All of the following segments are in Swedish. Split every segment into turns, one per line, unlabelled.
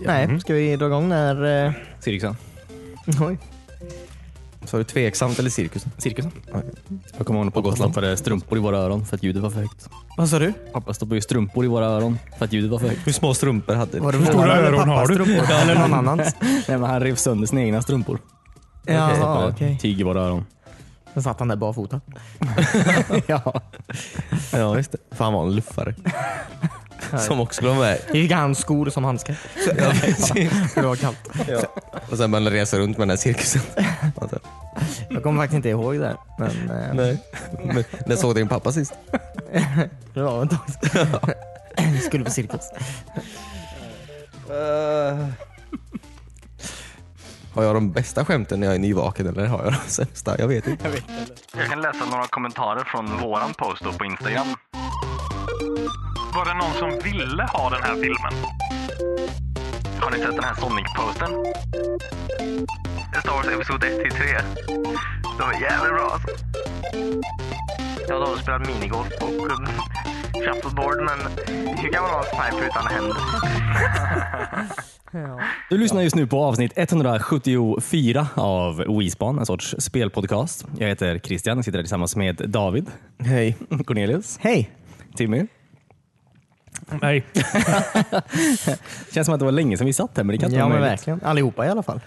Mm.
Mhm.
Nej, ska vi dra igång när... Eh,
Cirkusen.
oj.
Sa du tveksamt eller cirkus?
Cirkusen. Jag kommer ihåg när på Gotland var det strumpor i våra öron för att ljudet var för högt.
Vad sa du?
Pappa stoppade ju strumpor i våra öron för att ljudet var för högt.
Hur små strumpor hade du?
Var det
Hur
våra
stora
eller
öron har
pappas
du?
strumpor? Eller någon annans?
Nej men han rev sönder sina egna strumpor.
Jaha,
Stoppade
okej.
Tyg i våra öron.
Sen satt han där barfota.
ja.
Ja, just det. För han var en luffare. Som också skulle vara med.
Vi fick han skor som handskar.
Ja, precis.
för Det var kallt.
Och sen började han resa runt med den här cirkusen. Alltså,
Jag kommer faktiskt inte ihåg det. Men eh,
Nej. Men, när såg du din pappa sist?
det var ett tag sedan. Vi skulle på cirkus.
Har jag de bästa skämten när jag är nyvaken eller har jag de sämsta? Jag vet inte.
Jag kan läsa några kommentarer från våran post då på Instagram. Var det någon som ville ha den här filmen? Har ni sett den här Sonic-posten? Star Wars Episod 1 till 3. De är jävligt bra alltså. Jag har spelat minigolf och um, shuffleboard men hur kan man ha en sniper utan händer?
Du lyssnar just nu på avsnitt 174 av WeSpan, en sorts spelpodcast. Jag heter Christian och sitter här tillsammans med David,
Hej.
Cornelius,
Hej!
Timmy.
Nej,
Känns som att det var länge sedan vi satt här men det kan inte
Ja
vara
men
möjligt.
verkligen. Allihopa i alla fall.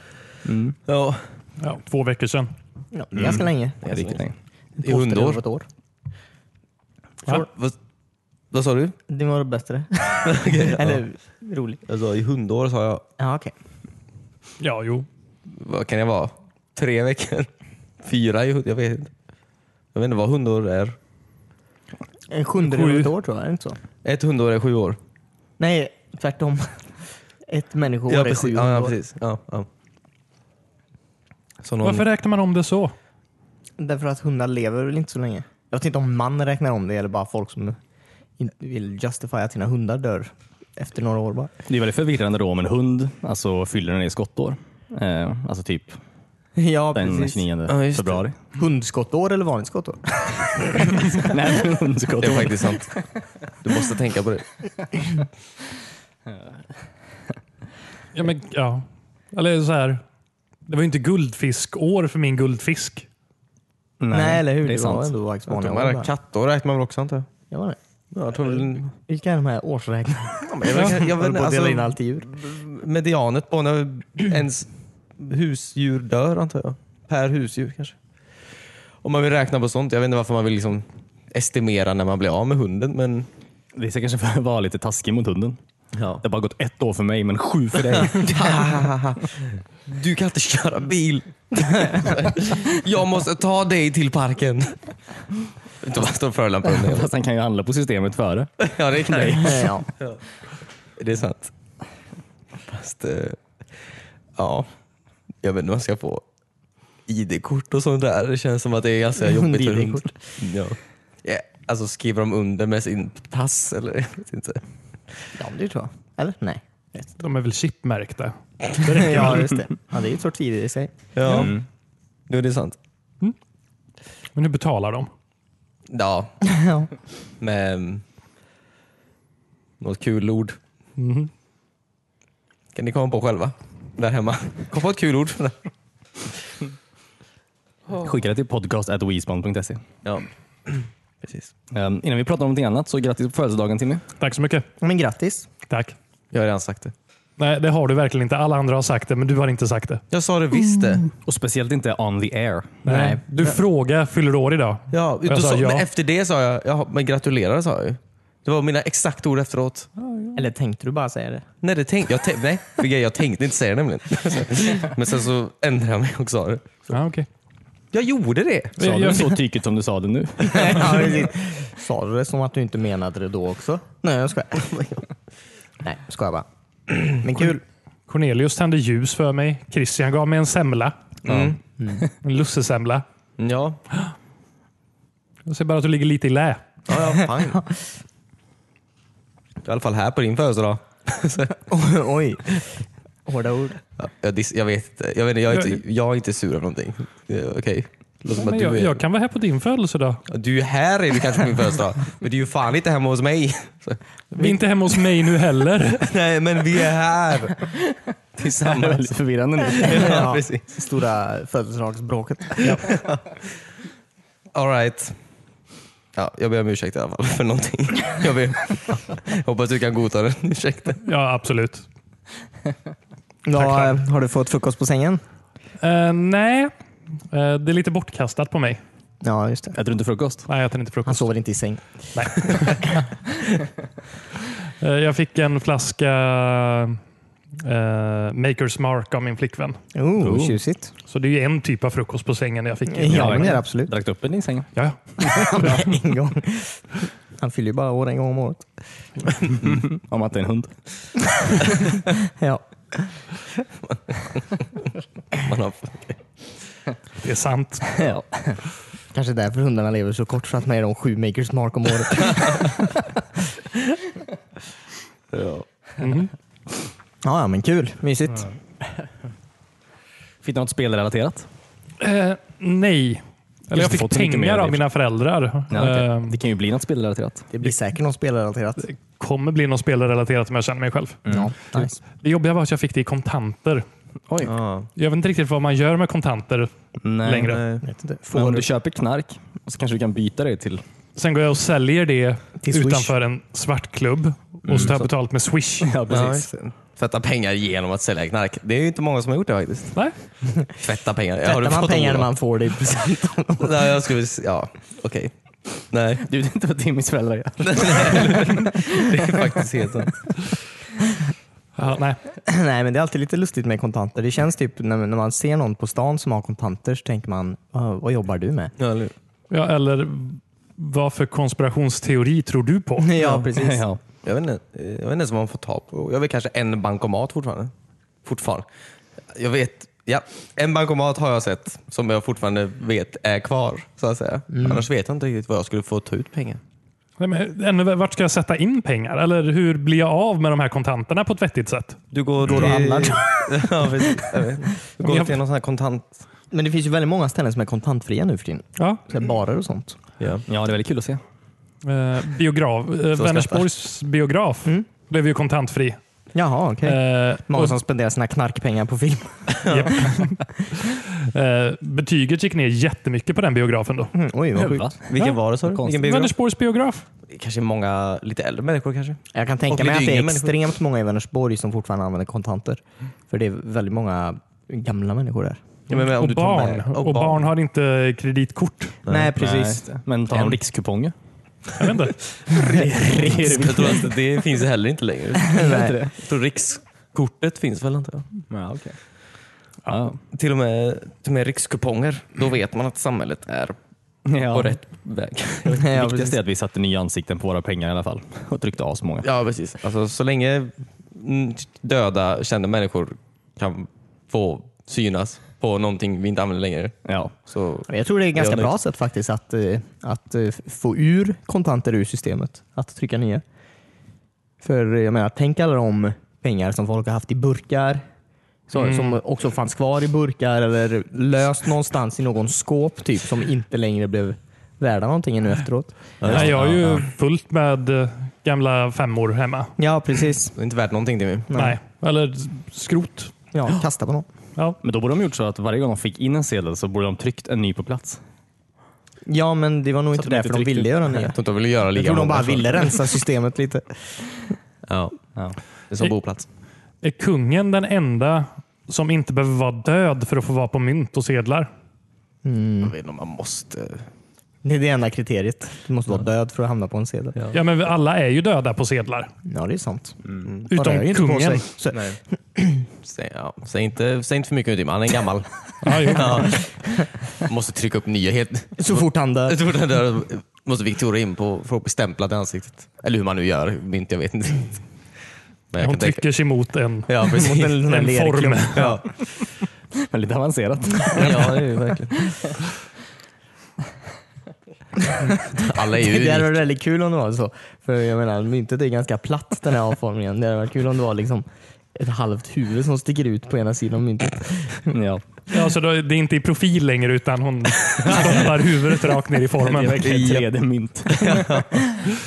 Ja.
ja, två veckor sedan.
Ja,
Mm.
det är ganska länge.
Ja, riktigt länge.
I
Påstår
hundår.
det var ett år.
Va?
Vad, vad sa du?
Det var bättre. Eller roligt.
Jag sa i hundår sa jag.
Ja okej.
Ja, jo.
Vad kan jag vara? Tre veckor? Fyra i hund? Jag vet inte. Jag vet inte vad hundår är.
En Eh, sjunde
Sju.
eller ett år tror jag, är det inte så?
Ett hundår är sju år.
Nej, tvärtom. Ett människoår
ja,
är
precis.
sju
Ja, ja,
år.
precis. Ja, ja. Så någon...
Varför räknar man om det så?
Därför att hundar lever väl inte så länge. Jag vet inte om man räknar om det eller bara folk som inte vill justifiera att sina hundar dör efter några år bara.
Det är väldigt förvirrande då om en hund alltså, fyller när det är skottår. Eh, alltså typ
Ja,
den
precis.
29
Ja, just det.
februari.
Hundskottår eller vanligt skottår?
Nej, men
Det är
hundskottår.
faktiskt sant. Du måste tänka på det.
Ja, men, ja. Eller så här. Det var ju inte guldfiskår för min guldfisk.
Nej, eller hur?
Det är
var
sant.
ändå dags
De
vanliga år
här
bara.
kattår räknar man väl också antar jag?
Ja, var det.
Ja, jag tror väl-
Vilka är de här årsräknarna?
Ja, men jag vet- jag
Jag
vet
höll på
inte,
att dela in
alltså,
allt i djur.
medianet på när ens husdjur dör antar jag. Per husdjur kanske. Om man vill räkna på sånt. Jag vet inte varför man vill liksom estimera när man blir av med hunden men
Det ska kanske för att vara lite taskig mot hunden. Det har bara gått ett år för mig, men sju för dig.
du kan inte köra bil. jag måste ta dig till parken. Inte bara stå och förolämpa hunden.
Fast han kan ju handla på systemet före.
Ja det kan jag.
Nej, ja.
Det är sant. Fast, eh, ja. Jag vet inte vad jag ska få. ID-kort och sånt där. Det känns som att det är ganska jobbigt för hund.
Hund-ID-kort.
Ja. Ja, alltså skriver de under med sin pass eller? Jag vet inte.
ja, det tror jag. Eller? Nej.
De är väl chipmärkta.
Ja, just det. Ja, det är ju ett sorts tid i sig.
Ja,
Mm.
jo, det är sant.
Men hur betalar de?
Ja,
Ja.
men något kul ord. Mhm. Kan ni komma på själva? Där hemma. Kom på ett kul ord.
Skicka det till podcast.weespan.se.
Ja, precis.
Ehm, innan vi pratar om någonting annat, så grattis på födelsedagen Timmy.
Tack så mycket.
Men grattis.
Tack.
Jag har redan sagt det.
Nej, det har du verkligen inte. Alla andra har sagt det, men du har inte sagt det.
Jag sa det visst det.
Och speciellt inte on the air.
Nej.
Du frågar fyller du år idag.
Ja,
jag
då
sa
sa,
ja.
Men efter det sa jag, ja, men gratulerar sa jag ju. Det var mina exakta ord efteråt.
Eller tänkte du bara säga det?
Nej, det tänkte jag, tän- nej, för grejen, jag tänkte inte säga det nämligen. Men sen så ändrade jag mig och sa det.
Ja, okej.
Jag gjorde det!
Sa du det så tyket som du sa det nu?
ja, precis. Sa du det som att du inte menade det då också? Nej, jag skojar. Nej, jag skojar bara. Men kul.
Cornelius tände ljus för mig. Christian gav mig en semla.
Mm.
En lussesemla.
Ja,
Jag ser bara att du ligger lite i lä.
ja, ja fine. I alla fall här på din födelsedag.
Oj. Hårda ord.
Ja, jag, dis- jag vet inte, jag, vet, inte, jag, är inte, jag är inte sur av någonting. Eh, Okej, Låter som
Men
att du,
jag,
är,
jag kan vara här på din födelsedag.
du är ju här är du kanske på min födelsedag. Men du är ju fan inte hemma hos mig. Så,
Vi är inte hemma hos mig nu heller.
nej, men vi är här.
Det är
Tillsammans.
väldigt förvirrande nu.
Ja, precis.
Stora födelsedagsbråket.
Alright. Ja, jag ber om ursäkt i alla fall för någonting. Jag ber. Hoppas du kan godta den ursäkten.
Ja, absolut.
Ja, eh, har du fått frukost på sängen?
Eh, nej, Eh, det är lite bortkastat på mig.
Ja, just det.
Äter du inte frukost?
Nej, jag äter inte frukost.
Han sover inte i säng.
Nej. Eh, jag fick en flaska eh, Makers Mark av min flickvän.
Oh,
Oh.
tjusigt.
Så det är ju en typ av frukost på sängen jag fick.
Ja, men det är det
jag
absolut.
Drack du upp den i sängen?
Ja,
En gång. Han fyller ju bara år en gång om året.
Om att det är en hund.
Ja.
Man har,
det är sant.
Ja.
Kanske därför hundarna lever så kort, för att man ger dem sju makers mark om året.
Mhm.
Ja, ja men kul. Mm. Mysigt.
Fick du något spelrelaterat?
Eh, nej. Eller jag
Just
fick
fått så mycket mer
pengar
av
av
det.
mina föräldrar.
Ja, okej.
Eh,
Det kan ju bli något spelrelaterat.
Det blir säkert något spelrelaterat.
kommer bli något spelrelaterat om jag känner mig själv.
Mm.
Mm.
Ja, nice.
Det jobbiga var att jag fick det i kontanter.
Oj.
ja,
Jag vet inte riktigt vad man gör med kontanter
Nej.
längre.
nej.
Vet inte.
Men
Får
om
du
du köper knark så kanske du kan byta det till...
Sen går jag och säljer det
Till Swish.
utanför en svartklubb
Mm,
och så tar jag betalt med Swish.
Ja,
Ja, just det. Tvätta pengar genom att sälja knark. Det är ju inte många som har gjort det faktiskt.
Nej?
Tvätta pengar. Ja, har du
tvättar man
fått
pengar
ord?
när man får det i present?
Nej, jag skulle... s- Ja, okej. Nej,
Du vet inte vad Timmys föräldrar gör.
det är faktiskt helt sant.
Ja, nej.
Nej, men det är alltid lite lustigt med kontanter. Det känns typ när, när man ser någon på stan som har kontanter så tänker man, "Vad- vad jobbar du med?
Ja, eller hur?
Ja, eller vad för konspirationsteori tror du på?
Ja, precis.
Ja.
Jag vet inte, jag vet inte ens vad man får ta på. Jag vet kanske en bankomat fortfarande. Fortfarande. Jag vet, ja. En bankomat har jag sett som jag fortfarande vet är kvar. Så att säga. Annars vet jag inte riktigt vad jag skulle få ta ut pengar.
Nej, men, ännu, vart ska jag sätta in pengar? Eller hur blir jag av med de här kontanterna på ett vettigt sätt?
Du går
och handlar.
ja, precis. Jag vet. Du går
Jag-
till någon sån här kontant...
Men det finns ju väldigt många ställen som är kontantfria nu för tiden.
Ja,
Så här Barer och sånt.
Ja.
ja, det är väldigt kul att se.
eh, biograf. Eh,
jag
Vänersborgs biograf blev ju kontantfri.
Jaha, okej.
Eh,
Många
och-
som spenderar sina knarkpengar på film.
Japp. Eh, Betyget gick ner jättemycket på den biografen då.
Mm, oj, vad
Va?
sjukt.
Vilken
Ja,
var det sa du?
konstigt.
Vilken biograf?
Vänersborgs biograf.
Kanske många lite äldre människor kanske?
Jag kan
Och
tänka mig
lite
att det är
yngre människor. Mm.
extremt många i Vänersborg som fortfarande använder kontanter. För det är väldigt många gamla människor där.
Ja, men om
och,
du tar
barn.
med-
och barn har inte kreditkort.
Nej, precis.
Nej, men ta en rikskuponger.
Jag vet inte.
Jag tror att det finns heller inte längre.
Nej.
Jag tror rikskortet finns väl inte?
Ja, okej. Ja.
Till och med, till och med rikskuponger.
Mm.
Då vet man att samhället är på
Ja.
rätt väg.
Det
Ja, precis.
viktigaste är att vi satte nya ansikten på våra pengar i alla fall och tryckte av så många.
Ja, precis. Alltså, så länge mm, döda, kända människor kan få synas på någonting vi inte använder längre.
Ja.
Så,
Jag tror det är ett ganska
Ja, det-
bra sätt faktiskt att, eh, att eh, få ur kontanter ur systemet. Att trycka nya. För eh, jag menar, tänk alla de pengar som folk har haft i burkar. Så, Som också fanns kvar i burkar eller löst någonstans i någon skåp typ som inte längre blev värda någonting nu efteråt.
Nej, jag har ju fullt med eh, gamla femmor hemma.
Ja, precis.
det är inte värt någonting till mig.
Nej.
Nej. Eller skrot.
Ja, kasta på någon.
Ja.
Men då borde de gjort så att varje gång de fick in en sedel så borde de tryckt en ny på plats.
Ja, men det var nog inte
de inte
därför de
tryckte.
ville göra
Jag
nya.
tror inte de ville göra
Jag
lika
tror de bara
många.
ville rensa systemet lite.
Ja,
Ja.
det är som boplats.
Är kungen den enda som inte behöver vara död för att få vara på mynt och sedlar?
Mm.
Jag vet inte om man måste.
Det är det enda kriteriet. Du måste vara död för att hamna på en sedel. Ja,
Ja, men alla är ju döda på sedlar.
det är sant. Bara jag Mm. är
Utom
inte på sig.
kungen.
Så,
Nej. Säg, ja, säg, inte, säg inte för mycket nu Tim, han är gammal.
Ja, jo.
Måste trycka upp nya helt.
så fort han dör.
Jag tror den där måste Victoria in på för att bli stämplad i ansiktet. Eller hur man nu gör, inte, jag vet inte. Men jag
Hon
tänka-
trycker sig mot en,
Ja, precis.
en sån här
en
lerklump.
form.
Ja.
Väldigt avancerat.
ja, det är ju verkligen. Alla är ju
Det hade
unika.
varit väldigt kul om det var så. För jag menar, myntet är ganska platt den här avformningen. Det hade varit kul om det var liksom ett halvt huvud som sticker ut på ena sidan av myntet.
Ja.
Ja, så då, det är inte i profil längre utan hon stoppar huvudet rakt ner i
Det är
formen.
verkligen 3D-mynt.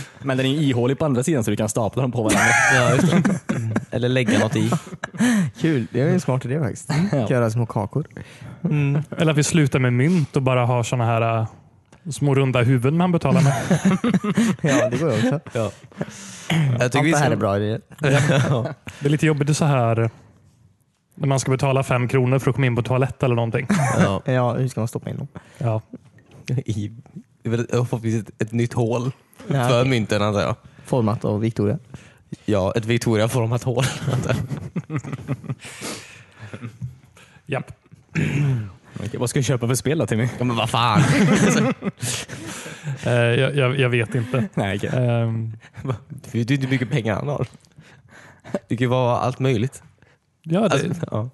Men den är ju ihålig på andra sidan så du kan stapla dem på varandra.
Ja, just det. Eller lägga något i.
Kul, det är ju en smart idé faktiskt. Kan Göra små kakor.
Mm. Eller att vi slutar med mynt och bara har såna här äh, små runda huvuden man betalar med.
Ja, det går ju också.
Jag tycker
Allt
vi
det här
ska...
är bra idéer.
Det är lite jobbigt så här när man ska betala fem kronor för att komma in på toalett eller någonting.
Ja.
Ja, hur ska man stoppa in dem?
Ja.
I, det är väl ett- förhoppningsvis ett, ett nytt hål
Ja.
för mynten antar jag.
Format av Victoria.
Ja, ett Victoria-format hål. antar jag.
Japp.
Okej, vad ska jag köpa för spel då Timmy?
Ja, men vad fan.
Eh, jag, jag, jag vet inte.
Nej, okej.
Ehm,
Det är inte mycket pengar han har. Det kan ju vara allt möjligt.
ja, det,
Alltså, ja.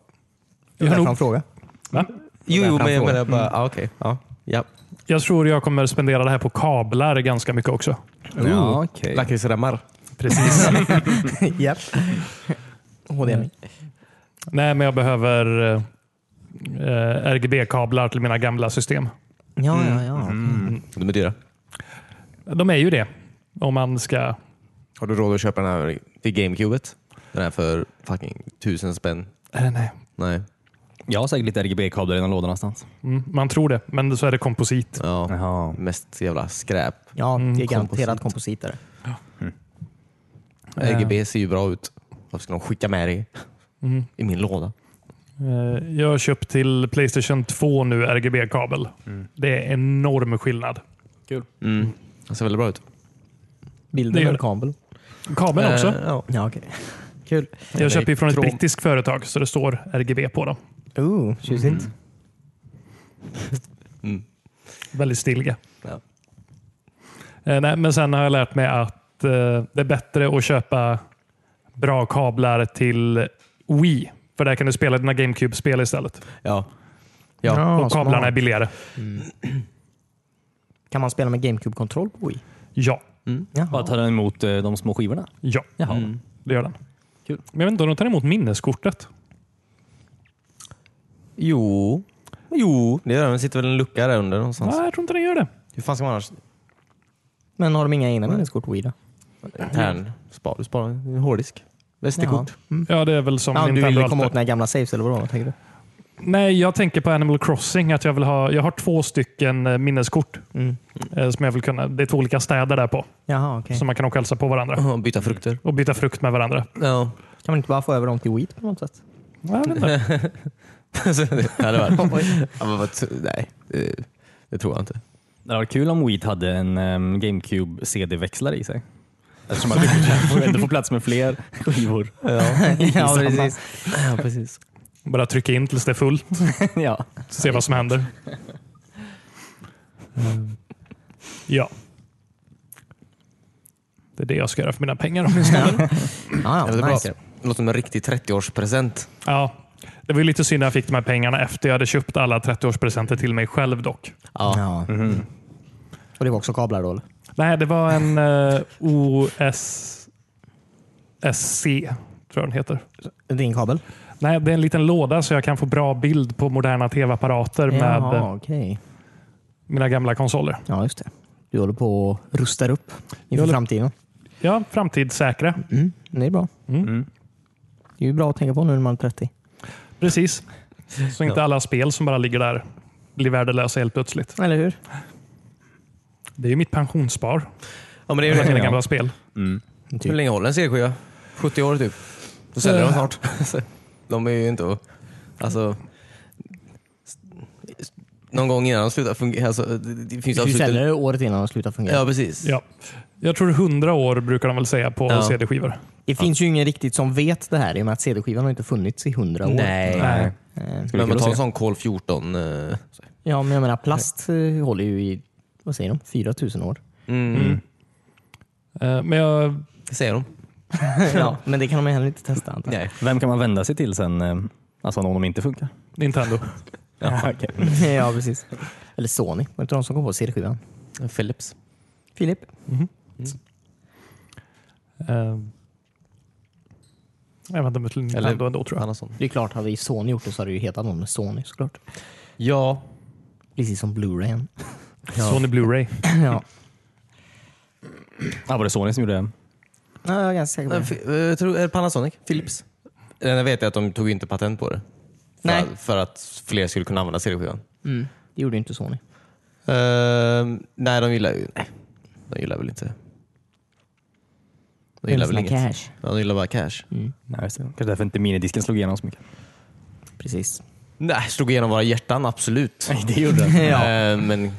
Det är därför
jag, har
han
nog,
frågar.
va?
Jo,
där
jo, men jag
framför.
menar bara, ah, okej. Ja. Ja.
jag tror jag kommer spendera det här på kablar ganska mycket också.
Ja, okej.
Lakritsremmar.
Precis.
Japp.
Mm.
HDMI.
Nej, men jag behöver eh, eh, RGB-kablar till mina gamla system.
Ja, ja, ja.
Mm. De är dyra.
De är ju det. Om man ska...
Har du råd att köpa den här till GameCubet? Den här för fucking tusen spänn.
Eh, nej.
Nej.
Jag har säkert lite RGB-kablar i någon låda någonstans.
Mm, man tror det, men så är det komposit.
Ja.
Jaha.
Mest jävla skräp.
Ja, det är
Mm,
garanterat kompositer.
RGB ser ju bra ut. Varför ska de skicka med det
Mm.
i min låda?
Eh, Jag har köpt till Playstation 2 nu RGB-kabel. Det är enorm skillnad.
Mm. Det ser väldigt bra ut.
Bilden
Det gör
eller
det.
kabel?
Kabeln också.
Eh, ja.
Ja, okej. Kul.
Jag köper ju från ett
Trom-
brittiskt företag så det står RGB på dem.
Oh, tjusigt.
Väldigt stilliga.
Ja.
Eh, nej, men sen har jag lärt mig att eh, det är bättre att köpa bra kablar till Wii. För där kan du spela dina GameCube-spel istället.
Ja. Ja.
och kablarna är
Ah, smart.
billigare.
Kan man spela med GameCube-kontroll på Wii?
Ja,
Bara tar den emot eh, de små skivorna? Mm.
ja mm.
Jaha.
det gör den.
Kul.
Men jag vet inte om de tar emot minneskortet.
Jo. Jo, det gör den. Det sitter väl en lucka där under någonstans.
Nej, jag tror inte den gör det.
Hur fan ska man annars?
Men har de inga egna minneskort på Wii då?
Intern. Spar, du sparar en hårddisk. SD-kort.
Ja, det är väl som
Ja, du
Nintendo
ville
alltid.
komma åt dina gamla saves eller vadå? Tänker du?
Nej, jag tänker på Animal Crossing. Att jag, vill ha, jag har två stycken eh, minneskort.
Mm.
eh, Som jag vill kunna, det är två olika städer där på.
Jaha, okej.
Så man kan åka och hälsa på varandra
Ja. Byta frukter.
och byta frukt med varandra.
Ja.
Kan man inte bara få över dem till Wii på något sätt?
Jag vet inte.
Så det hade varit... ja, men vad t- nej, det, det tror jag inte.
Det hade varit kul om Wii hade en ehm, GameCube-CD-växlare i sig. Eftersom att du får- du får plats med fler skivor.
ja,
samma.
precis.
Ja, precis.
Bara trycka in tills det är fullt
ja.
se vad som händer. Ja. Det är det jag ska göra för mina pengar.
Ja, ja,
Ja, det, är
nice.
bra. det låter som en riktig 30-årspresent.
Ja. Det var ju lite synd när jag fick de här pengarna efter jag hade köpt alla 30-årspresenter till mig själv dock.
Ja. Och det var också kablar då? Eller?
Nej, det var en eh, OSSC tror jag den heter.
Din kabel?
Nej, det är en liten låda så jag kan få bra bild på moderna tv-apparater med eh,
Jaha, okej.
mina gamla konsoler.
Ja, just det. Du håller på och rustar upp inför
håller-
framtiden.
Ja, framtidssäkra.
Mm. Det är bra.
Mm.
Det är ju bra att tänka på nu när man är 30.
Precis. Så inte alla spel som bara ligger där blir värdelösa helt plötsligt.
Eller hur?
Det är ju mitt pensionsspar.
Ja, men det är
Mina
ju
gamla spel.
Typ.
Hur länge håller en CD-skiva? 70 år typ. Då säljer de snart. de är ju inte... Alltså... Någon gång innan de slutar fungera. Alltså, det, det finns
Du
absolut en-
säljer det året innan de slutar fungera.
Ja, precis.
Ja. Jag tror 100 år brukar de väl säga på
Ja.
CD-skivor.
Det finns ju ingen riktigt som vet det här i och med att CD-skivan har inte funnits i hundra år.
Nej.
Eh,
Skulle
Men man
kul att
tar en
se.
sån kol 14. eh, så-
Ja, men jag menar plast eh, håller ju i, vad säger de, 4000 år.
Mm.
Eh, Men jag,
Det säger de.
ja, men det kan de heller inte testa antar jag.
Vem kan man vända sig till sen? ehm, Alltså om de inte funkar?
Nintendo.
Ja, okej.
ja, precis. Eller Sony, var det inte de som kom på CD-skivan?
Philips.
Filip?
Eh, Även om det är Nintendo ändå tror jag.
Annars sånt.
Det är klart, hade vi Sony gjort det så hade det ju hetat något med Sony såklart.
Ja,
Precis som Blu-rayen.
Sony Blu-ray.
ja.
Ah, var det Sony som gjorde det?
ja, jag är ganska säker på
eh,
det.
fi- eh, jag tror, är det Panasonic? Philips? Eh, Jag vet att de tog inte patent på det. För,
Nej.
för att fler skulle kunna använda CD-skivan.
Mm. Det gjorde ju inte Sony.
Eh, nej, de gillar ju... Nej, de gillar väl inte... De gillar väl inget.
cash.
Ja, de gillar bara cash.
Nej, just det. Kanske därför inte minidisken slog igenom så mycket.
Precis.
Nej, slog igenom våra hjärtan, absolut.
Nej, det gjorde den.
Ja.
Eh, men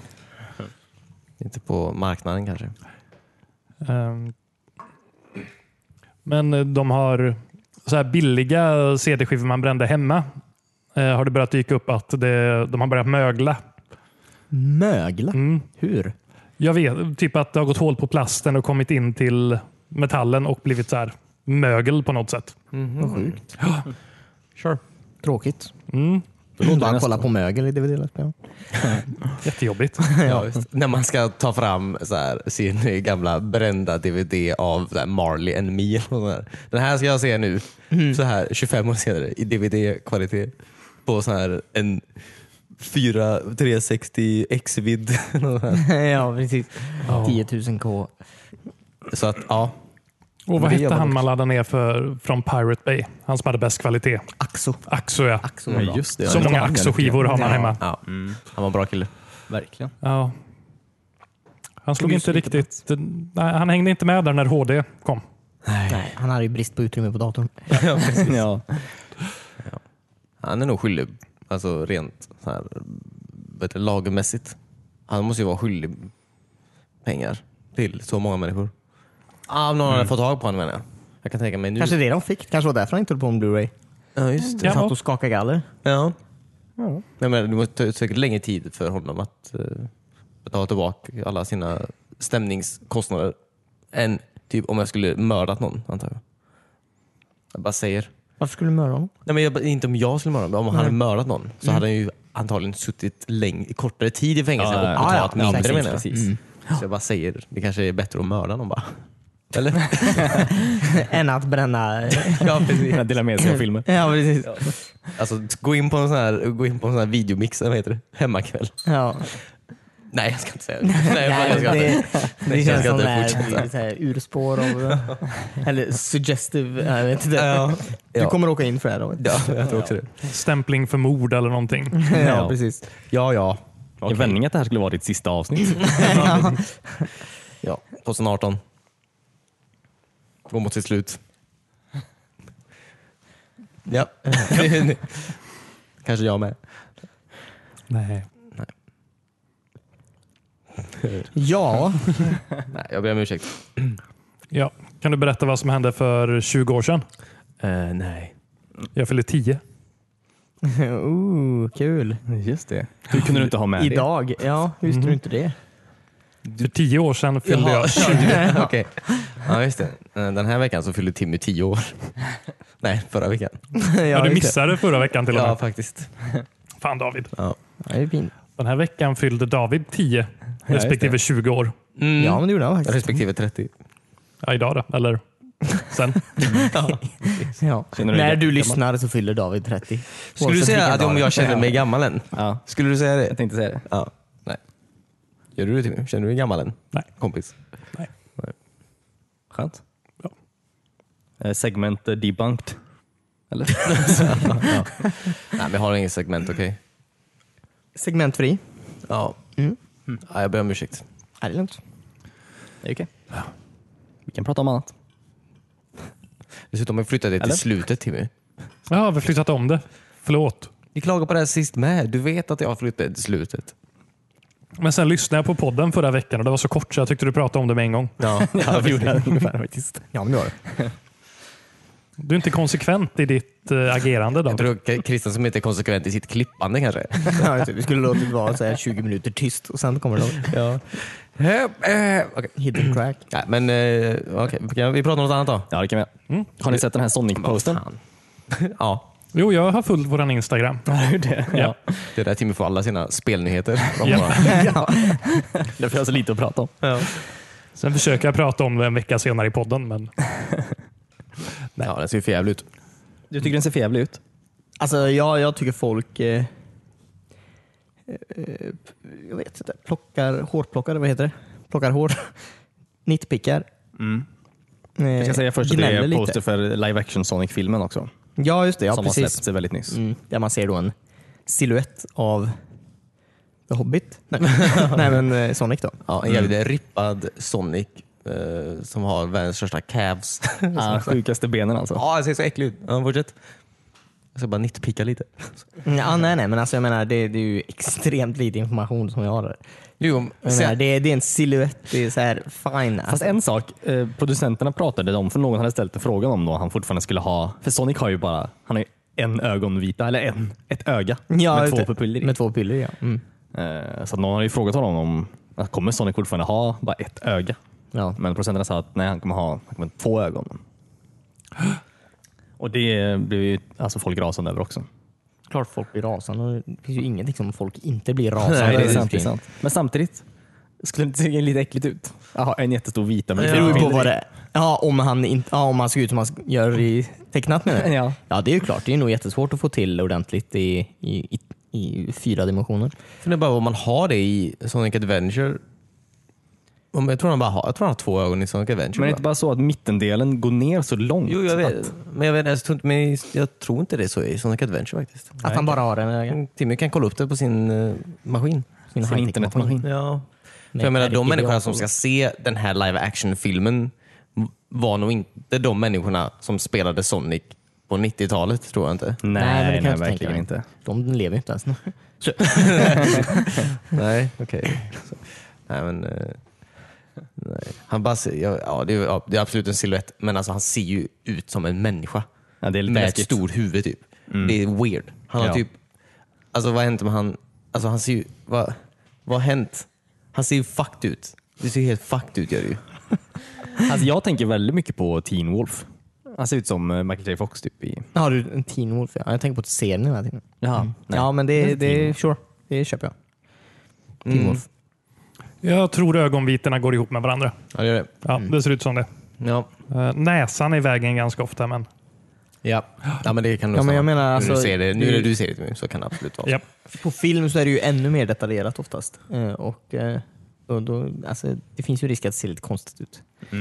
inte på marknaden kanske.
Ehm, Men eh, de har så här billiga CD-skivor man brände hemma. eh, Har det börjat dyka upp att det, de har börjat mögla.
Mögla?
Mm.
Hur?
Jag vet, typ att det har gått hål på plasten och kommit in till metallen och blivit så här mögel på något sätt.
Vad sjukt.
Sure.
Tråkigt.
Mm.
Då bara kolla på mögel i DVD-spelaren.
Jättejobbigt.
Ja, visst. När man ska ta fram så här, sin gamla brända DVD av så här, Marley and Me. Och sånt där. Den här ska jag se nu, så här 25 år senare, i DVD-kvalitet. På så här en 4 360 X-vidd. något sånt här.
ja, precis. 10 000 K.
så att, ja.
Och
Men
vad
det
hette
gör man
han
också.
man laddade ner för, från Pirate Bay? Han som hade bäst kvalitet.
Axo.
Axo ja.
Axo var bra.
just det.
Så många Axo-skivor har man hemma.
Ja. Mm. Han var en bra kille.
Verkligen.
Ja. Han slog
Just
inte
lite
riktigt... Nej, han hängde inte med där när HD kom.
Nej, han hade ju brist på utrymme på datorn.
ja.
Han är nog skyldig, alltså rent så här, vet du, lagmässigt. Han måste ju vara skyldig pengar till så många människor. Ah, om någon hade fått tag på honom menar jag. Jag kan tänka mig nu.
Kanske det de fick. Kanske var därför han inte höll på med Blu-ray.
Ja, just det.
Ja.
Satt och skakade galler.
Ja. Jag menar, det måste ta säkert längre tid för honom att eh, betala tillbaka alla sina stämningskostnader än typ om jag skulle mördat någon, antar jag. Jag bara säger.
Varför skulle du mörda honom?
Nej, men jag, inte om jag skulle mörda honom. Om han hade mördat någon så hade han ju antagligen suttit läng- kortare tid i fängelse
Ja,
och
ja, ja.
betalat
Ja, ja,
mindre
precis,
menar jag.
Mm.
Så jag bara säger, det kanske är bättre att mörda någon bara. Eller?
Än att bränna...
ja, precis.
Dela med sig av filmer.
ja, precis.
Alltså, gå in på en sån här, gå in på en sån här videomix, eller vad heter det? Hemmakväll.
Ja.
Nej, jag ska inte säga det. Nej, fan, jag ska inte.
det, det
jag
känns
ska
som
inte
det
fortsätta.
är så här urspår av... eller suggestive... Jag vet inte.
Ja,
Du
Ja.
kommer åka in för det här då.
ja, jag tror också det.
Stämpling för mord eller någonting.
Mm.
ja, precis.
Ja, ja.
I vändning att det här skulle vara ditt sista avsnitt.
ja. 2018. Går mot sitt slut. Ja. kanske jag med.
Nej.
Ja,
Nej, jag ber om ursäkt.
Ja. Kan du berätta vad som hände för 20 år sedan?
Eh, nej.
Jag fyllde 10.
Ooh, kul.
Just det. Hur kunde du inte ha med det?
Idag, ja, hur visste du inte det?
För 10 år sedan fyllde jag 20.
Okej. Ja, just det. Eh, Den här veckan så fyllde Timmy tio år. Nej, förra veckan.
Ja, du
just
missade förra veckan till och
Ja,
med.
faktiskt.
Fan David.
det. Ja, det är fint.
Den här veckan fyllde David 10 respektive 20 år.
Mm.
Ja, men det gjorde han faktiskt.
Respektive 30.
Ja, idag då. Eller sen.
Ja.
Känner du dig
När du
gammal?
lyssnar så fyller David 30.
Skulle du
Oavsett
säga
vilken
att
dag
om
det är.
jag känner mig gammal än?
Ja,
Skulle du säga det?
jag tänkte säga det.
Ja. Nej. Gör du det Timmy? Känner du dig gammal än?
Nej.
Kompis?
Skönt.
Ja.
Eh, Segment eh, debunked. Eller?
Nej, men jag har inget segment, okej?
Segmentfri.
Ja.
Mm.
ja. Jag ber om ursäkt.
Är det lugnt?
Det är okej. Vi kan prata om annat.
Dessutom har vi flyttat det till
Eller?
slutet Timmy.
Ja, vi har flyttat om det. Förlåt.
Vi klagade på det här sist med. Du vet att jag har flyttat det till slutet.
Men sen lyssnade jag på podden förra veckan och det var så kort så jag tyckte du pratade om det med en gång.
Ja,
Ja, vi gjorde det ungefär faktiskt.
Ja, men det var det.
Du är inte konsekvent i ditt eh, agerande
Jag
David.
tror K- Christian som inte är konsekvent i sitt klippande kanske.
Ja, just det. Vi skulle låta det vara så här 20 minuter tyst och sen kommer det
Ja. Okay.
hidden track.
Nej, men eh, okej. Kan vi prata om något annat då?
Ja, det kan vi göra. Mm. Har ni sett den här Sonic-posten?
Fan. ja,
Jo, jag har följt våran Instagram.
Ja, det. Ja.
det är där Timmy får alla sina spelnyheter. De
Ja.
bara-
Därför har jag så lite att prata om.
Sen försöker jag prata om det en vecka senare i podden, men
Nej. Ja, den ser ju förjävlig ut.
Du tycker den ser förjävlig ut?
Alltså jag, jag tycker folk eh, eh, jag vet inte, plockar, hårplockare, vad heter det? Plockar hår. Nitpickar. Eh,
Jag ska säga först att det
gnäller
är
lite.
poster för live action Sonic-filmen också.
Ja, just det. Ja,
som har
precis.
släppts väldigt nyss.
Mm, där man ser då en silhuett av The Hobbit. Nej, Nej men eh, Sonic då.
Ja, en jävligt rippad Sonic eh, som har världens största calves.
Ah, sjukaste benen alltså.
Ja, det ser så äcklig ut. Ja, fortsätt. Jag ska bara nitpicka lite.
Ja, nej, nej, men alltså jag menar det, det är ju extremt lite information som jag har där.
Jo, om-
Jag menar, det, det är en silhuett, det är så här fine.
Fast
Alltså,
en sak eh, producenterna pratade om, för någon hade ställt en fråga om då han fortfarande skulle ha, för Sonic har ju bara han har ju en ögonvita, eller en, ett öga
Alltså, Ja,
med
just
två
det.
pupiller i.
Med två pupiller ja. Mm.
Eh, så att någon hade ju frågat honom om att kommer Sonic fortfarande ha bara ett öga?
ja.
Men producenterna sa att nej, han kommer ha han kommer ha två ögon. Och det blev ju alltså folk rasande över också.
Klart folk blir rasande. och Det finns ju ingenting som folk inte blir rasande
Nej, det är
över.
sant, det är sant. Men samtidigt skulle det inte se lite äckligt ut? Jaha, en jättestor vita med
Det beror ju på vad det är. Ja, om han, inte, ja, om han ser ut som han gör i tecknat menar jag.
Ja.
ja, det är ju klart. Det är nog jättesvårt att få till ordentligt i, i, i, i fyra dimensioner.
För det är bara om man har det i Sonic Adventure. Om jag tror han bara har, jag tror han har två ögon i Sonic Adventure.
Men det är
va?
inte bara så att mittendelen går ner så långt?
jo, jag
Att,
vet. Men jag, vet, jag, tror inte, men jag tror inte det är så i Sonic Adventure faktiskt. Mm,
Att han bara har en öga.
Timmy kan kolla upp det på sin eh, maskin.
Sin
sin
high-tech
internetmaskin.
Ja.
Nej,
För jag menar,
herregud,
de människorna
jag-
som ska se den här live action-filmen var nog inte de människorna som spelade Sonic på 90-talet, tror jag inte.
Nej,
Nej, men det
nej,
kan jag inte tänka
verkligen
mig.
inte.
De lever ju inte ens nu.
Nej, okej. Så- Nej, men... eh, nej. Han bara ser, ja, ja, det är, ja, det är absolut en silhuett, men alltså, han ser ju ut som en människa.
Ja, det är lite
med
läskigt.
ett stort huvud typ. Det är weird. Han har
Ja.
typ... Alltså vad har hänt med han? Alltså han ser ju... Vad, vad har hänt? Han ser ju fucked ut. Det ser ju helt fucked ut gör det ju.
Alltså, jag tänker väldigt mycket på Teen Wolf. Han ser ut som eh, Michael J Fox typ. I...
Ja, du, en Teen Wolf ja. Jag tänker på serien hela tiden. Mm.
Jaha, nej.
Ja, men det,
Teen
det, sure, det köper jag. Teen Wolf.
Jag tror ögonvitorna går ihop med varandra.
Ja, det gör det.
Ja, Det ser ut som det.
Ja.
Eh, Näsan är i vägen ganska ofta, men
Ja. ja, men det kan nog
Ja, men jag
stämma.
menar,
Nu
alltså,
du ser det, nu
det-
när du ser det Timmy, så kan det absolut vara
ja.
På film så är det ju ännu mer detaljerat oftast. Eh, Och, eh, och då, alltså, det finns ju risk att det ser lite konstigt ut. Det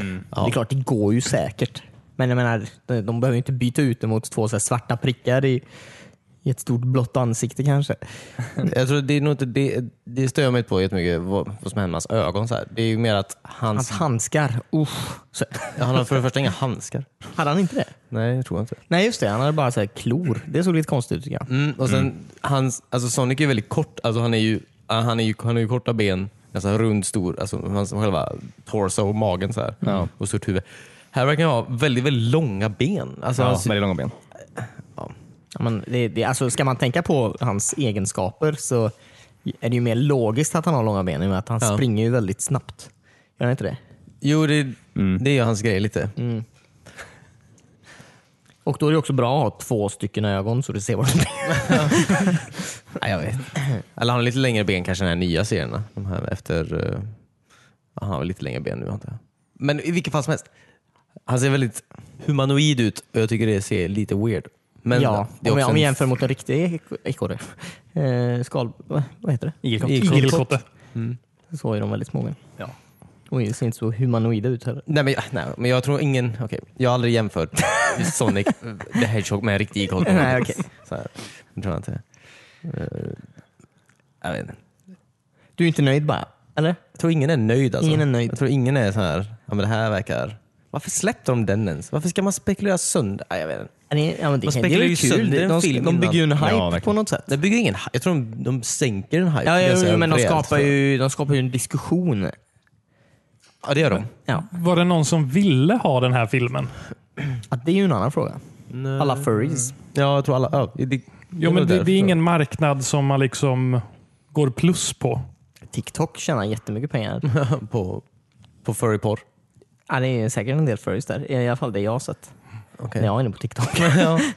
är klart, det går ju säkert. Men jag menar, de, de behöver ju inte byta ut det mot två så här svarta prickar i, i ett stort blått ansikte kanske.
så. Jag tror det är nog inte det, det stör jag mig inte på jättemycket, vad, vad som händer med hans ögon. Så här. Det är ju mer att
Hans
hans...
handskar, usch. Så,
Han har för det första inga handskar.
hade han inte det?
Nej, jag tror inte.
Nej just det, han hade bara så här klor. Det såg lite konstigt ut tycker jag.
Mm, och sen, hans, alltså Sonic är väldigt kort, alltså han, är ju, ah, han, är ju, han har ju korta ben, alltså rund, stor, alltså hans själva torso och magen så här, och stort huvud. Här verkar han ha väldigt, väldigt långa ben. Alltså,
Ja,
han ser-
väldigt långa ben.
Ja, men det, det, alltså, ska man tänka på hans egenskaper så är det ju mer logiskt att han har långa ben i och med att han
Ja.
springer ju väldigt snabbt. Gör han inte det?
jo, det, Mm. det är ju hans grej lite.
Och då är det också bra att ha två stycken ögon så du ser vad det är.
Ja, jag vet. Eller han har lite längre ben kanske än de här nya serierna. De här efter, eh, ja, han har väl lite längre ben nu antar jag. Men i vilket fall som helst, han ser väldigt humanoid ut och jag tycker det ser lite weird. Men
ja,
det är
om, jag,
också
om vi
en-
jämför mot en riktig ek- ekorre. Eh, skal... va- Vad heter det?
Igelkott.
igelkotte.
Så är de väldigt små.
Ja.
Och de ser inte så humanoida ut heller.
Nej men, nej, men jag tror ingen... Okej, jag har aldrig jämfört Sonic eh, the Hedgehog med en riktig igelkott.
Nej, okej.
Så här, det tror jag inte. Eh, jag vet inte.
Du är inte nöjd bara? Eller?
Jag tror ingen är nöjd alltså.
Ingen är nöjd.
Jag tror ingen är så här, ja men det här verkar... Varför släppte de den ens? Varför ska man spekulera sönder? Nej, jag vet inte.
Ja, det- Ja, men det, kan,
Man
det är
spekulerar ju
väl kul.
sönder en
De,
film
de, de bygger ju en
innan.
hype
Ja, verkligen.
på något sätt.
Det bygger ingen hype. Jag tror de, de sänker en hype.
Ja, ja,
ganska
jo, men de
rejält,
skapar,
tror jag.
ju, de skapar ju en diskussion.
Ja det gör de.
Ja.
Var det någon som ville ha den här filmen?
Ja, det är ju en annan fråga. Alla furries.
Ja jag tror alla... Ja, det,
Jo, men det, det är ingen marknad som man liksom går plus på.
TikTok tjänar jättemycket pengar.
på, på furryporr.
ja, det är säkert en del furries där. I alla fall det jag har sett.
Okej.
När jag är inne på TikTok.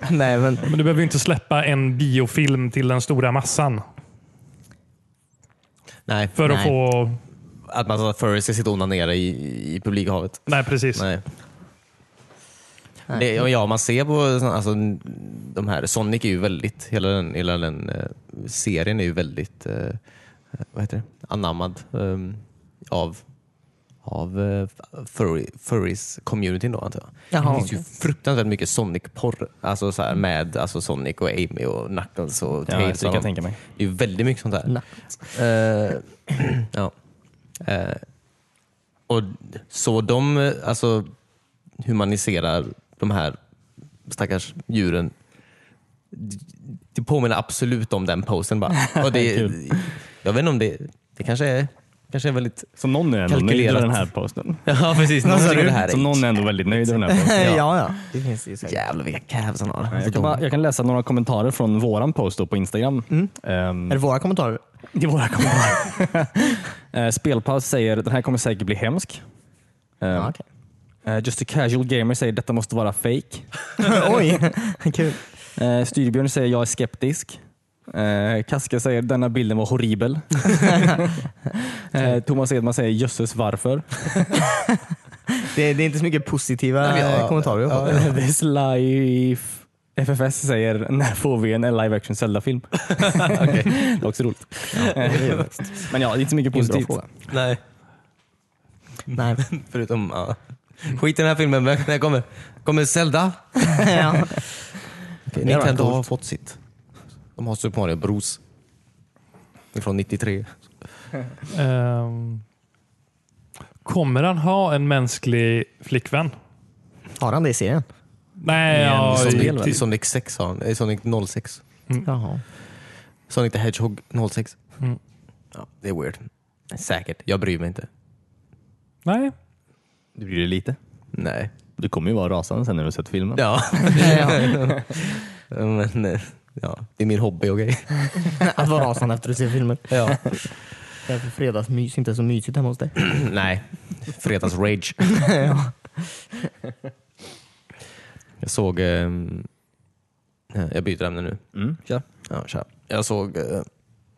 Nej, men,
Men du behöver ju inte släppa en biofilm till den stora massan
Nej,
för att
Nej.
få...
att man så att furries ska sitta och onanera i, i publikhavet.
Nej, precis.
Nej. Det, ja, ja, man ser på sån- alltså, de här, Sonic är ju väldigt, hela den, hela den eh, serien är ju väldigt eh, vad heter det? anammad eh, av, av eh, furry, furries-communityn då antar jag.
Jaha,
det finns ju
okej.
fruktansvärt mycket Sonic-porr, alltså så här med alltså Sonic och Amy och Knuckles och
Ja, det
Tails.
kan
och
jag
dem.
tänka mig.
det är ju väldigt mycket sånt där. Eh, ja. Eh, och så de eh, alltså, humaniserar de här stackars djuren. D- Det påminner absolut om den posten. Bara. Och det,
Kul.
jag vet inte om det, det kanske är, kanske är väldigt...
Så någon är ändå nöjd över
Kalkylerat.
den här posten.
Ja precis,
Vad sa
någon tycker
du?
det här
Så
är
någon är ändå väldigt nöjd över den här posten.
ja, ja. Det finns ju
Jävlar vilka calves han har.
Alltså,
Jag kan, bara, jag kan läsa några kommentarer från våran post då på Instagram. Ehm,
Är det våra kommentarer?
Det är våra kommentarer. Eh, Spelpaus säger den här kommer säkert bli hemsk. Eh,
Ja, okej.
eh, Just a casual gamer säger detta måste vara fake.
Oj, kul.
Eh, Styrbjörn säger jag är skeptisk. Eh, Kaska säger denna bilden var horribel. eh, Thomas Edman säger jösses varför.
Det, det är inte så mycket positiva
Nej, men ja,
eh, kommentarer vi har fått.
Eh, This life. FFS säger när får vi en live action Zelda-film? det var också roligt. Eh, Men ja, det är inte så mycket
Det är en bra
positivt.
fråga.
Nej,
Nej.
förutom... Ja. Skit i den här filmen, men när kommer, kommer Zelda?
ja. det hade
Nintendo
varit
har fått sitt. De har Super Mario Bros. Från 93.
Ehm, kommer han ha en mänsklig flickvän?
Har han det i serien?
Nej, ja,
Sonic,
i-
i Sonic 6 har han. eh, Sonic 06.
Jaha.
Sonic the Hedgehog 06.
Mm.
Ja, det är weird. Säkert. Jag bryr mig inte.
nej.
Du bryr dig lite?
Nej.
Du kommer ju vara rasande sen när du har sett filmen.
Ja. Men eh, ja, det är min hobby, okej?
Att vara rasande efter att se filmen.
Ja.
Därför fredagsmys inte är så mysigt hemma hos dig.
Nej. Fredags-rage. Jag såg... Eh, jag byter ämne nu.
Mm.
Kör. Ja, kör. Jag såg eh,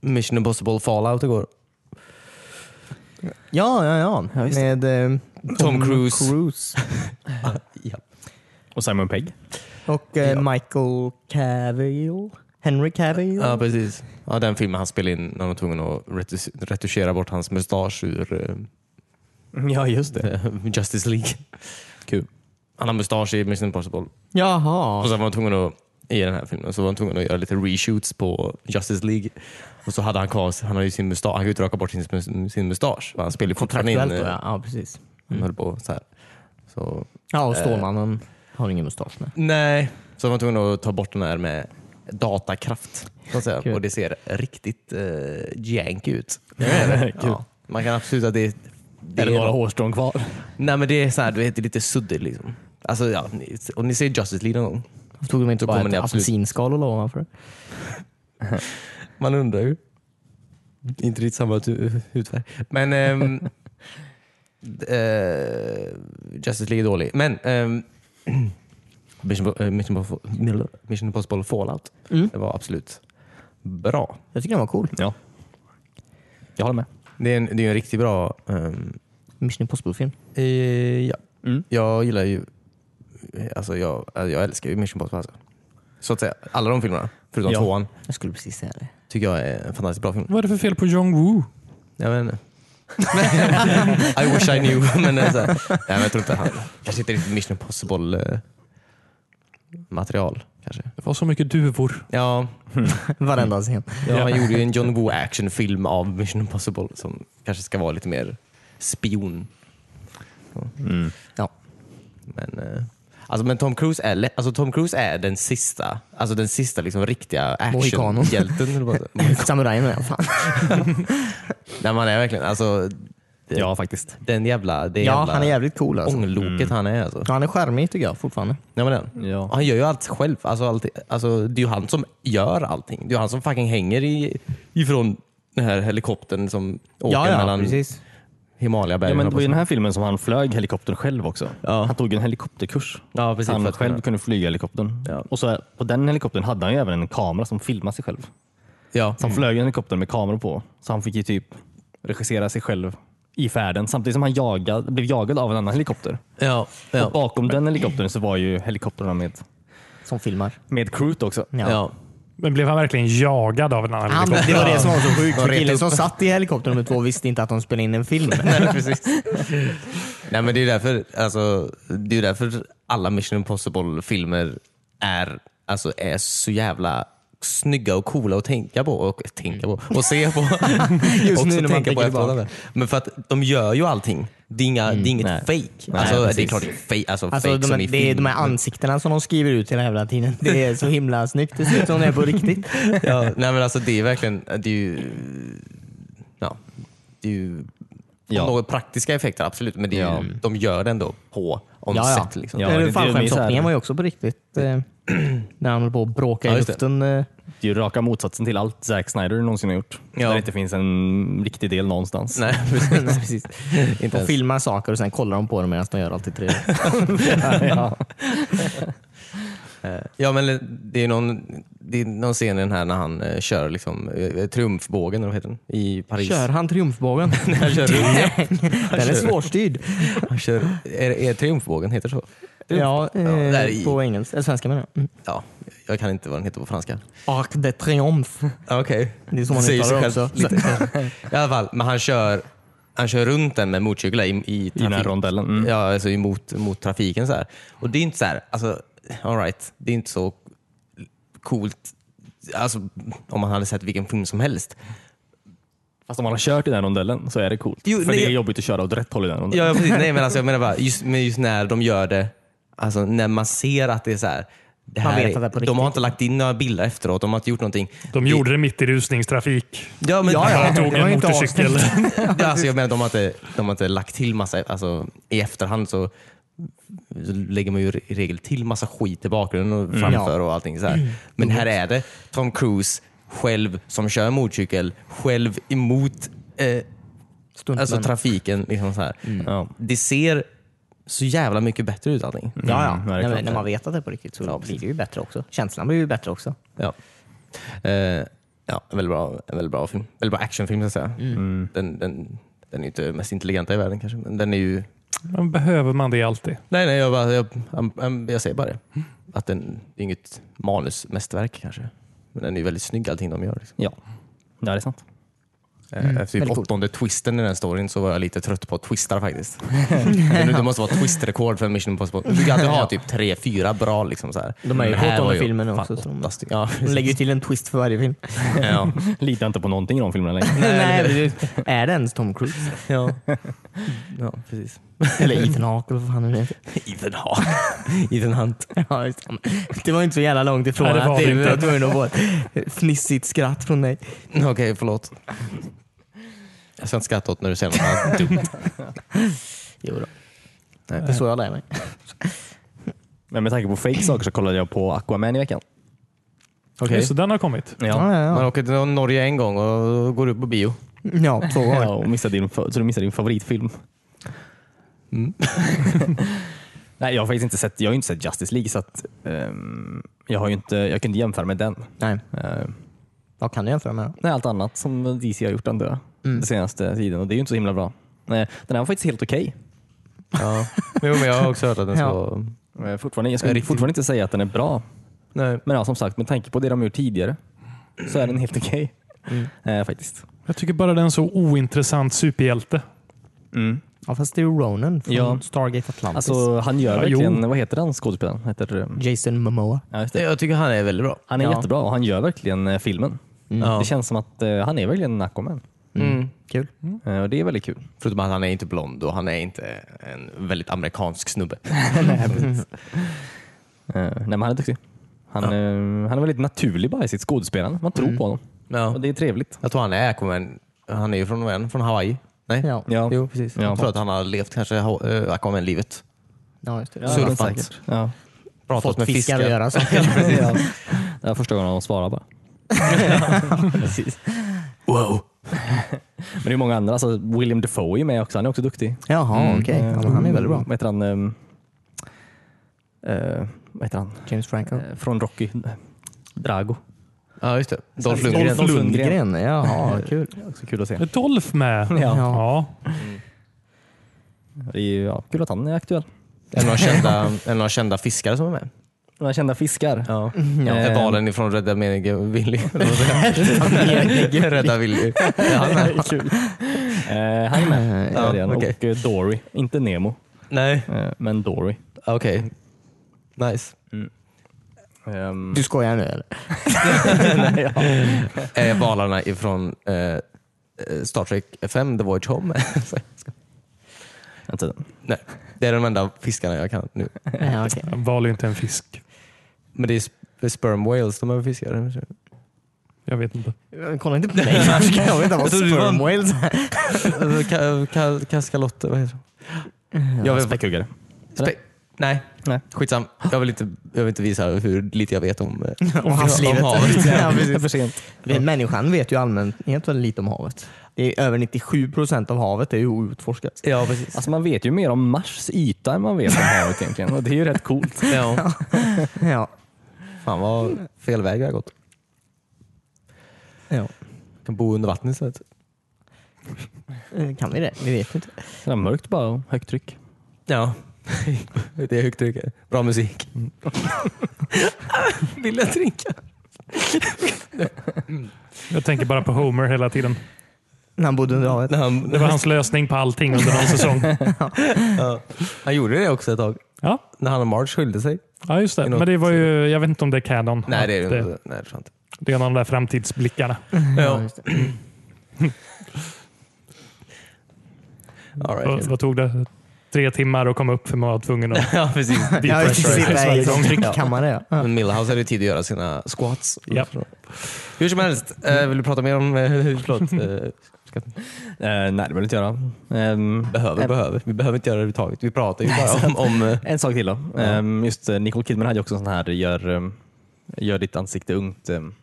Mission Impossible Fallout igår.
Ja, ja, ja. Med eh, Tom,
Tom Cruise.
Cruise.
Ah, Och Simon Pegg.
Och eh, Michael Cavill. Henry Cavill.
Ja, precis. Ja, den filmen han spelade in när de var tvungna att retus- retuschera bort hans mustasch ur
Ja, just det.
eh, Justice League. Kul. Han har mustasch i Mission Impossible.
Jaha.
Och sen var de tvungna att i den här filmen så var de tvungna att göra lite reshoots på Justice League. Och så hade han kvar, han hade ju sin mustasch, han kunde inte raka bort sin, mus- sin mustasch. Han spelade ju fortfarande in,
Kontraktuellt då,
eh,
ja. ja, precis.
han höll på så här. Så,
Ja,
eh,
och Stålmannen har ingen mustasch. Nej.
nej, så de var tvungna att ta bort den här med datakraft. Så att säga.
Kul.
Och det ser riktigt eh, jank ut.
Kul.
Ja. Man kan absolut att det, det
Är det
är
några hårstrån kvar?
Nej men det är så här, du vet, det är lite suddigt liksom. Alltså ja, ni- om ni ser Justice League någon gång.
Tog de inte
Så
bara
kommer
ett
ni absolut-
apelsinskal och la ovanför?
Man undrar ju. Inte riktigt samma tu- hudfärg. Men... ehm, d- eh, Justice League är dålig. Men... ehm, Mission, Impo- eh, Mission, Impossible, Mission Impossible Fallout.
Mm.
Det var absolut bra.
Jag tycker den var cool.
Ja. Jag håller med.
Det är en, det är en riktigt bra... ehm,
Mission Impossible-film.
eh, ja.
Mm.
Jag gillar ju... eh, Alltså jag, eh, jag älskar ju Mission Impossible. Alltså. Så att säga, alla de filmerna, förutom
Ja.
tvåan,
Jag skulle precis säga det.
tycker jag är en fantastiskt bra film.
Vad är det för fel på Jong Woo?
Jag vet inte. I wish I knew. Men, det är så här. Nej, men jag tror inte han... Kanske inte riktigt Mission Impossible eh, material. Kanske.
Det var så mycket duvor.
Ja, Mm.
Varenda scen.
ja, han gjorde ju en John Woo actionfilm av Mission Impossible som kanske ska vara lite mer spion.
Ja.
Men, eh, alltså, men Tom Cruise är, le- alltså, Tom Cruise är den sista, alltså den sista liksom, riktiga
Mohikanon.
actionhjälten. eller vad det heter.
Samurajen är fan.
Nej, man är verkligen, alltså, det-
Ja, faktiskt.
den jävla, det
Ja,
jävla
han är jävligt cool alltså.
ångloket han är alltså.
Ja, Han är charmig tycker jag fortfarande.
Nej, men den.
Ja.
Han gör ju allt själv. Alltså, allt, alltså, det är ju han som gör allting. Det är ju han som fucking hänger i, ifrån den här helikoptern som åker mellan
precis.
men det
Himalaya-bergen.
var
hoppas
ju
jag.
den här filmen som han flög helikoptern själv också. Han tog en helikopterkurs.
Ja, precis, för
han
att
själv
kunna-
kunde flyga helikoptern.
Ja.
Och så, på den helikoptern hade han ju även en kamera som filmade sig själv.
ja. Mm.
Så han flög en helikopter med kameror på. Så han fick ju typ regissera sig själv i färden samtidigt som han jagad, blev jagad av en annan helikopter.
Ja,
Och bakom den helikoptern så var ju helikoptrarna med,
som filmar.
med crewet också.
Ja.
Men blev han verkligen jagad av en annan
Han,
helikopter?
det var det som var så sjukt.
De
För
retade
killen som
upp.
satt i helikoptern nummer två visste inte att de spelade in en film.
Nej men det är ju därför, alltså, det är ju därför alla Mission Impossible-filmer är, alltså, är så jävla snygga och coola att tänka på och, tänka på, och se på.
Just
Också
nu när man tänker
efteråt.
tillbaka. Mm.
Men för att de gör ju allting. Det är, inga, det är inget
nej.
fake.
Nej,
alltså, det är
precis.
klart det är fake, alltså,
Alltså,
fake
de,
som i
det är de
film.
här ansiktena som de skriver ut hela jävla tiden. Det är så himla snyggt. Det ser ut som det är på riktigt.
ja, nej men alltså det är verkligen, det är ju, ja, det är ju
Ja.
om något praktiska effekter absolut, men det är ju,
Ja.
de gör det ändå på on
Ja, ja.
set. Liksom.
Ja, det- det är ju
Ja,
mer så här-
Fallskärmshoppningen var ju också på riktigt. Eh, när han höll på att bråka
Ja,
i
just det.
luften. Eh,
Det är ju raka motsatsen till allt Zack Snyder någonsin har gjort.
Ja.
Där det inte finns en riktig del någonstans.
Nej,
Nej, precis.
inte
De
ens.
filmar saker och sen kollar de på dem medan de gör allt i tre.
ja.
Ja, men det är någon, det är någon scen i den här när han eh, kör liksom, eh, triumfbågen, eller vad heter den, i Paris.
Kör han triumfbågen?
Han kör,
Den är svårstyrd.
han kör, är, är triumfbågen, heter det så?
Ja, eh,
där i-
på engelska. Eller svenska menar jag. Mm.
Ja, jag kan inte vad den heter på franska.
Arc de triomphe.
Okej.
Det är så man uttalar det också.
I alla fall, men han kör, han kör runt den med motorcyklar i, i
I den här
trafik.
rondellen. Mm.
Ja, alltså emot, mot trafiken så här. Och det är inte så här, alltså, all right, det är inte så coolt alltså, om man hade sett vilken film som helst.
Fast om man har kört i den här rondellen så är det coolt.
Jo,
För
nej,
det är
jag-
jobbigt att köra åt rätt håll i den rondellen.
Ja, ja precis. Nej, men alltså, jag menar bara just, men just när de gör det, alltså när man ser att det är så här. Det
Man
här
vet att det är på
de har
riktigt.
inte lagt in några bilder efteråt, de har inte gjort någonting.
De gjorde det mitt i rusningstrafik.
Ja, men,
Ja, ja.
Jag tog
det var
en
ju inte
motorcykel.
Ja, alltså, jag menar, de har, inte, de har inte lagt till massa, alltså, i efterhand så så lägger man ju i regel till massa skit i bakgrunden
Mm.
och framför och allting så
Mm.
här. Men här är det Tom Cruise själv som kör motorcykel, själv emot eh,
Stuntmän.
alltså, trafiken. Liksom så här.
Mm.
Ja.
Det ser så jävla mycket bättre ut allting.
Ja, ja.
Mm,
när,
verkligen.
man- när man vet att det är på riktigt så blir det ju bättre också. Känslan blir ju bättre också.
Ja. Eh, ja, en väldigt bra, en väldigt bra film. Väldigt bra actionfilm ska jag säga.
Mm.
Den, den, den är inte den mest intelligenta i världen kanske, men den är ju...
Men behöver man det alltid?
Nej, nej, jag, bara, jag, jag, jag, säger bara det. Att den, det är inget manusmästerverk kanske. Men den är ju väldigt snygg allting de gör. Liksom.
Ja. ja, det är sant.
Eh, Efter
Mm.
typ
väldigt cool.
åttonde twisten i den storyn så var jag lite trött på twistar faktiskt. det, nu- det måste vara twistrekord för Mission Impossible. Du kan alltid ha typ tre, fyra bra. Liksom, så här.
De är ju
Den här
på
var
åttonde
ju
filmen
fan
också. så de-
åtta stycken. Ja,
De lägger ju till en twist för varje film.
ja.
Litar inte på någonting i de filmerna längre.
Nej, precis. är det ens Tom Cruise?
Ja. ja, precis.
Eller Ethan Hawke eller vad fan är det?
Ethan Hawke. Ethan Hunt.
Ja, just det. det var inte så jävla långt ifrån
Nej, det var
att
det
du
inte.
var tvungen att få ett fnissigt skratt från dig.
Okej, förlåt. Jag ska inte skratta åt när du säger något annat dumt.
Jo då.
Nej.
Det är så jag lär mig.
Men med tanke på fake saker så kollade jag på Aquaman i veckan.
Okej.
Just det, den har kommit.
Ja,
Man
ja,
åker till Norge en gång och går upp på bio.
ja. ja två gånger.
Ja, och missade din, fa- så du missade din favoritfilm. Nej, jag har faktiskt inte sett, jag har ju inte sett Justice League så att, ehm, jag, har ju inte, jag kan inte jämföra med den.
Nej,
Ehm,
vad kan jag jämföra med?
nej, allt annat som DC har gjort ändå den senaste tiden och det är ju inte så himla bra. Nej, den här var faktiskt helt okej.
Ja. Jo, men jag har också hört att den ska
Ja.
vara...
Eh, Fortfarande, jag skulle
Riktigt.
fortfarande inte säga att den är bra.
Nej.
Men ja, som sagt, med tanke på det de gjort tidigare så är den helt okej. Eh, faktiskt.
Jag tycker bara den är en så ointressant superhjälte.
Ja, fast det är ju Ronan från
Ja.
Stargate Atlantis.
Alltså, han gör
Ja,
verkligen,
jo.
vad heter han skådespelaren? Heter, eh,
Jason Momoa.
ja, just det.
Jag tycker han är väldigt bra.
Han är
Ja.
jättebra och han gör verkligen eh, filmen.
Ja.
Det känns som att eh, han är verkligen Aquaman.
Mm.
Kul.
Eh, och det är väldigt kul.
Förutom att han är inte blond och han är inte en väldigt amerikansk snubbe.
Eh, nej, men han är duktig. Han, eh, han är väldigt naturlig bara i sitt skådespelande. Man tror på honom.
Ja.
Och det är trevligt.
Jag tror han är Aquaman. Han är ju från, vad är han? från Hawaii. Nej?
Ja.
Ja.
Jo, precis.
Ja.
Jag tror att han har levt kanske eh, Aquaman-livet.
Ja, just det.
Ja, men
Surfat.
säkert. Ja.
Pratat
Fått
med
fiskar
fiskar.
att göra. Så.
ja. Det var första gången de svarade bara.
Wow!
Men det är många andra. Alltså, William Defoe är med också. Han är också duktig. Eh,
Jaha, okej.
Mm.
Ja, men han är väldigt bra.
Vad heter han? ehm, eh, vad heter han?
James Franco.
Eh, från Rocky. Drago.
Ja, just det. Dolph
Dolph
Lundgren.
Lundgren.
Jaha, kul.
Också kul att se.
Är Dolph med?
Ja.
ja.
Det är ju, ja, kul att han är aktuell.
Är det några kända, är det några kända fiskare som är med?
Några kända fiskar. Eh,
Ja.
ja.
Är valen ifrån Rädda Meningen Willy? Meningen Rädda Willy. Är han med?
Kul. Eh, han är med i
Ja,
början.
okej.
Och eh, Dory. Inte Nemo,
Nej,
eh, men Dory.
okej. Nice.
Ehm,
Du skojar nu eller?
nej, Eh, ja.
Är valarna ifrån eh, eh, Star Trek 5, The Voyage Home?
Vänta.
Nej, det är de enda fiskarna jag kan nu.
Ja, okej.
En Val är ju inte en fisk.
Men det är sp- sperm whales de är fiskare.
Jag vet inte.
Kolla inte på mig. Jag vet inte vad
trodde du var en-
sperm whales
Eh, Ka- ka- Kaskalotter, vad heter de? Jag vet,
Späckhuggare.
spe- nej,
Nej.
skitsam. Jag vill, inte, jag vill inte visa hur lite jag vet om, eh,
och havslivet.
om havet.
Ja, precis.
För sent.
Men Människan vet ju allmänhet väldigt lite om havet. Det är över 97 procent av havet är ju outforskat.
Ja, precis.
Alltså man vet ju mer om Mars yta än man vet om havet egentligen. Och det är ju rätt coolt.
Ja.
Ja.
Fan vad fel väg vi har gått.
ja.
Jag kan bo under vatten istället.
Eh, Kan vi det? Vi vet inte.
Det är mörkt bara och högt tryck.
Ja, det är högt tryck. här. Bra musik. Vill jag drinka?
Jag tänker bara på Homer hela tiden.
När han bodde under havet.
När han,
Det var hans lösning på allting under någon säsong.
ja. han gjorde det också ett tag.
Ja,
När han och Marge skilde sig.
ja just det. Men det var ju, jag vet inte om det är canon.
Nej, det är
Att eh,
det inte. Nej, det är sant.
det är en av de där framtidsblickarna.
Ja.
just det.
All
Vad,
right.
vad tog det? Tre timmar att komma upp för man var tvungen att
Ja, precis.
Ja, just det.
depressurize
Sitta i
varje
en
gång.
tryckkammare. ja. Ja.
Men Millhouse hade ju tid att göra sina squats.
Ja.
Hur som helst, eh, vill du prata mer om... eh, Förlåt. eh,
Eh, nej, det behöver inte göra. Ehm,
Behöver,
en,
behöver. Vi behöver inte göra det överhuvudtaget. Vi pratar ju bara om... om eh,
en sak till då. Ehm, just eh, Nicole Kidman hade ju också en sån här gör, ehm, gör ditt ansikte ungt ehm,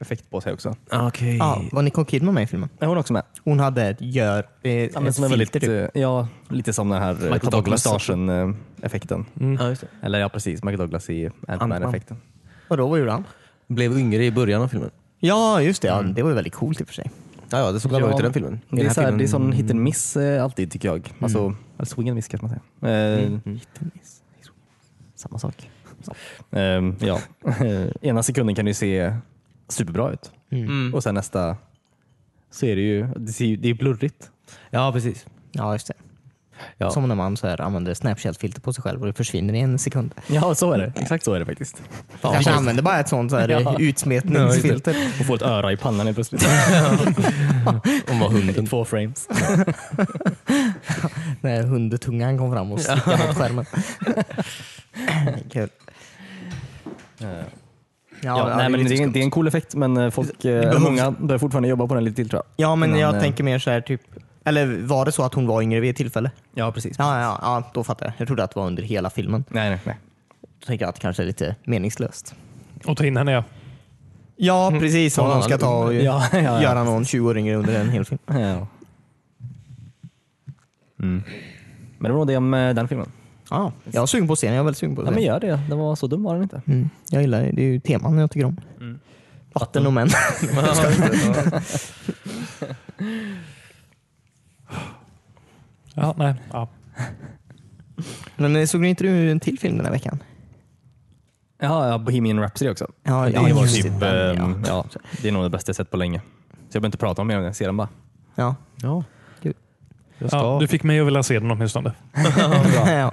effekt på sig också.
Okej.
Ja, var Nicole Kidman med i filmen?
Är hon också med?
Hon hade ett gör... eh,
Ja, men
ett
som är väldigt,
filter, typ.
eh, ja, lite som den här eh,
Michael
ta bort
Douglas. Mm.
mustaschen-effekten.
Ja, just det.
Eller ja, precis. Michael Douglas i Ant-Man-effekten.
typ. Vadå, vad gjorde han?
Blev yngre i början av filmen.
Ja, just det. Ja,
Mm.
det var ju väldigt coolt i och för sig.
Ja, ja det såg bra ut i den filmen. I
Det
den
är,
här
så här,
filmen-
det är sån hit and miss eh, alltid tycker jag. Alltså, eller swing and miss kanske man säger.
Mm.
Eh,
Samma sak.
ehm, ja. Eh, Ena sekunden kan det ju se superbra ut
Mm.
och sen nästa så är det ju det, ser, ju- det är blurrigt.
Ja, precis.
Ja, just det.
Ja.
Som när man så här använder Snapchat-filter på sig själv och det försvinner i en sekund.
Ja, så är det. Exakt så är det faktiskt.
Kanske använder bara ett sånt så här
Ja.
utsmetningsfilter.
Och få ett öra i pannan helt plötsligt.
Om vad
I
hunden...
två frames.
När hundtungan kom fram och stickade mot skärmen. Kul.
Ja,
Ja, ja,
nej,
är
men
lite
det, är,
skumt.
det är en cool effekt men eh, folk, eh,
behövs-
många börjar fortfarande jobba på den lite till tror jag.
ja, men
innan,
jag
eh,
tänker mer så här typ... Eller var det så att hon var yngre vid ett tillfälle?
Ja, precis.
Ja, ja, ja, då fattar jag. Jag trodde att det var under hela filmen.
Nej, nej, nej.
Då tänker jag att det kanske är lite meningslöst.
Och ta in henne ja.
Ja, precis. Om
Ja,
någon ska ta och
Ja, ja, ja.
göra någon 20 år yngre under en hel film.
Ja. Mm. Men det var nog det om eh, den filmen.
Ja, jag är sugen på att se den. Jag är väldigt sugen på att
Ja,
se
men
den.
gör det. Den var så dum var den inte.
Mm, jag gillar det. Det är ju teman jag tycker om. Vatten och män.
ja, nej. Ja.
Men eh, såg inte du en till film den här veckan?
Ja, ja, Bohemian Rhapsody också.
Ja,
det
ja,
var
just
typ,
det, den,
ehm, ja. det är nog det bästa jag sett på länge. Så jag behöver inte prata om mer om den. Se den bara.
Ja.
Ja.
Kul.
Jag ska...
Ja, du fick mig att vilja se den åtminstone.
ja.
Ja.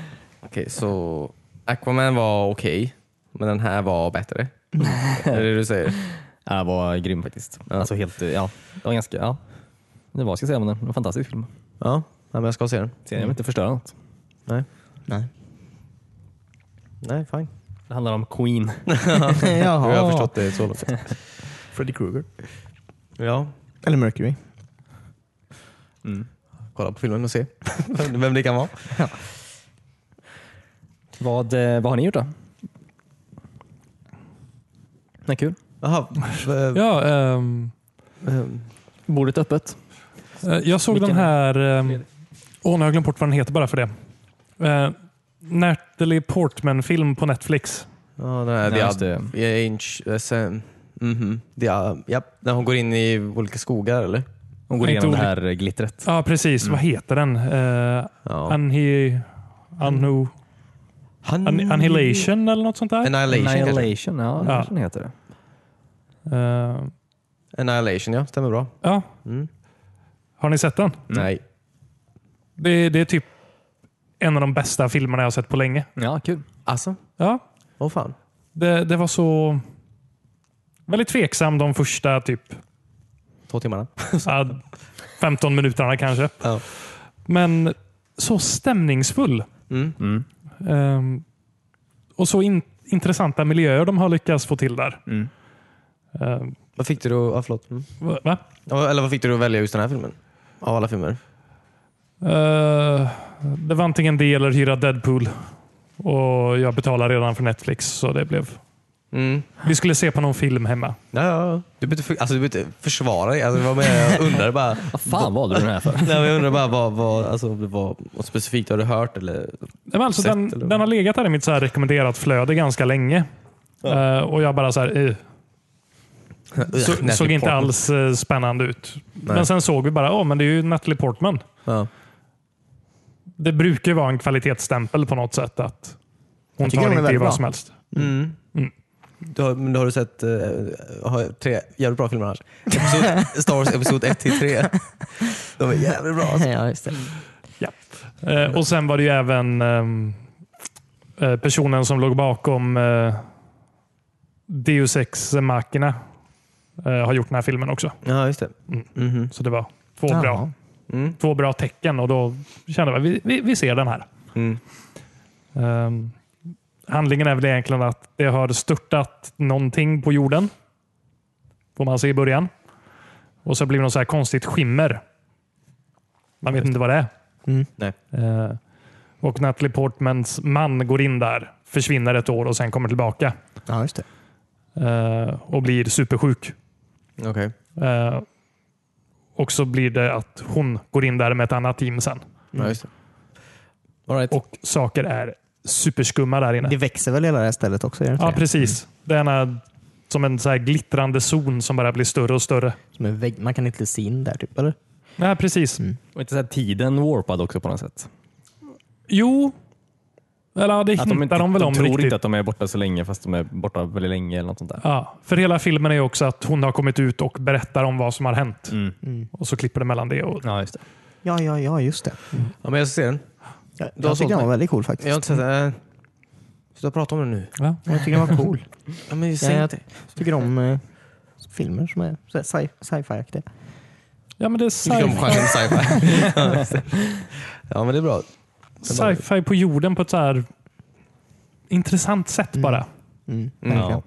Okej, så Aquaman var okej, men den här var bättre. är det det du säger?
Ja, den var grym faktiskt. Alltså helt, eh, ja. Det var ganska, ja. Det var vad ska jag säga om den. Det var en fantastisk film.
Ja, men jag ska se den.
Sen, jag vill inte förstöra något.
Nej,
Nej.
Nej fine.
Det handlar om Queen.
Jaha.
Jag har förstått det så långt. Freddy Krueger. Ja,
Eller Mercury.
Mm.
kolla på filmen och se vem, vem det kan vara.
Vad, eh, vad har ni gjort då? Nej, kul.
Jaha. Ja.
Ja, ehm,
Bordet öppet.
eh, jag såg
Vilken?
den här... ehm, Åh, nu har jag glömt bort vad den heter bara för det. Uh, Natalie Portman-film på Netflix.
ja, den här,
Ja, just
the,
det.
the Inch, eh, sen, mhm. The, uh, japp, när hon går in i olika skogar eller?
Hon går
Inte
igenom det
olika-
här eh, glittret.
Ja, precis. Vad heter den? Uh,
Ja.
Anhi... Anhu... An- annihilation eller något sånt där?
Annihilation, Annihilation.
Annihilation, ja, det
Ja.
kanske den heter. Det.
Eh,
Annihilation, ja. Stämmer bra.
ja.
Mm.
Har ni sett den?
Nej.
Det, det är typ en av de bästa filmerna jag har sett på länge.
Ja, kul.
Alltså?
Ja,
Åh fan.
det, det var så... Väldigt tveksam de första typ
Två timmarna.
så här 15 minuterna kanske.
Ja.
Men så stämningsfull.
Mm.
Ehm, och så in, intressanta miljöer de har lyckats få till där.
Mm.
Ehm,
Vad fick du då, ah, förlåt. Mm.
va- va?
Ja, Eller vad fick du att välja just den här filmen? Av alla filmer?
Eh, det var antingen det eller hyra Deadpool. Och Jag betalade redan för Netflix så det blev...
Mm.
Vi skulle se på någon film hemma.
Ja, ja, ja. Du behöver inte, alltså, du behöver inte försvara dig. Alltså, det var mer, jag undrade bara,
Vad fan valde du den här för?
nej, men jag undrade bara vad, vad, alltså, om det var något specifikt. Har du hört? Eller?
Nej, men Alltså
Sett,
den,
eller?
den har legat där i mitt så här rekommenderat flöde ganska länge. Eh, och Jag bara så här, eh, så,
Natalie
såg inte
Portman.
alls eh, spännande ut. Men sen såg vi bara, åh, men det är ju Natalie Portman.
Ja.
Det brukar ju vara en kvalitetsstämpel på något sätt. att Hon
Jag tycker
tar
hon är
inte i
väldigt
vad
bra.
som helst.
Mm. Du har, men då har du sett eh, har tre jävligt bra filmer annars. Episod, Star Wars Episod 1 till 3. De är jävligt bra. Alltså.
ja, just det.
Eh, och Sen var det ju även ehm, eh, personen som låg bakom eh, Deus Ex Machina eh, har gjort den här filmen också.
Ja, just det. Mhm.
Så det var två,
Jaha.
bra,
Mm.
två bra tecken och då kände jag vi, vi, vi ser den här.
Mm.
Ehm, handlingen är väl egentligen att det har störtat någonting på jorden. Får man se i början. Och så blir det något så här konstigt skimmer. Man vet inte vad det är.
Mm.
Nej.
Eh, och Natalie Portmans man går in där, försvinner ett år och sen kommer tillbaka
Ja, just det.
eh, och blir supersjuk.
Okej.
Eh, och så blir det att hon går in där med ett annat team sen.
Ja, just det. All right.
Och saker är superskumma där inne.
Det växer väl hela det här stället också? Gör det inte
Ja,
det?
precis. Det är ena, som en så här glittrande zon som bara blir större och större.
Som en vägg. Man kan inte se in där, typ, eller?
Nej, precis.
Och inte så här tiden warpad också på något sätt.
Jo, eller ja, det
Att de,
hintar
inte,
de, väl om
de tror
riktigt.
inte att de är borta så länge fast de är borta väldigt länge eller något sånt där.
Ja, för hela filmen är ju också att hon har kommit ut och berättar om vad som har hänt.
Mm.
Och så klipper det mellan det. Och,
Ja, just det.
Ja, ja, ja, just det.
Ja, men jag ska se den.
Jag,
Du har
jag
sålt
tycker den
mig.
var väldigt cool faktiskt.
Jag har inte sett den. Eh, Sluta prata om den nu.
ja.
Jag tycker den var cool.
Ja, men
Ja,
säg
jag
inte.
tycker om eh, filmer som är så här sci- sci-fi-aktiga.
ja, men det är
Liksom
Tycker om
sci-fi
genren sci-fi. ja, men det är bra.
sci-fi på jorden på ett så här intressant sätt bara.
Mm, verkligen.
Ja.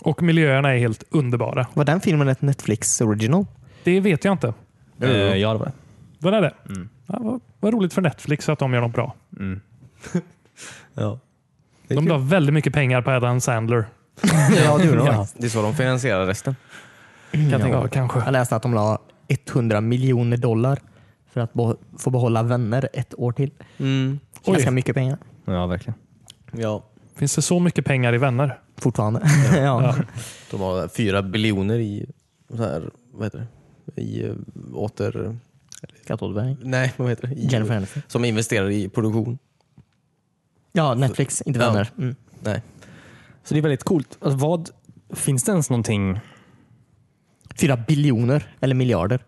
Och miljöerna är helt underbara.
Var den filmen ett Netflix original?
Det vet jag inte.
Ja. Eh, ja, det var det.
Vad är det?
Mm.
Ja, vad, vad roligt för Netflix att de gör något bra.
Ja.
De la väldigt mycket pengar på Adam Sandler.
ja, du då.
Ja. Det är så de finansierar resten.
Kan jag tänka
Ja.
mig. kanske.
Jag läste att de la 100 miljoner dollar för att bo- få behålla vänner ett år till.
Mm.
Oj.
Ganska mycket pengar
Ja, verkligen.
Ja,
Finns det så mycket pengar i vänner?
fortfarande. Ja.
Ja.
de har fyra biljoner i, så här, vad heter det? I eh, åter...
Skatt åt mig.
Nej, vad heter det? I,
Jennifer Aniston.
Som investerar i produktion.
Ja, Netflix, inte
Ja.
vänner. Mm.
Nej.
Så det är väldigt coolt. Alltså, vad, finns det ens någonting?
Fyra biljoner, eller miljarder.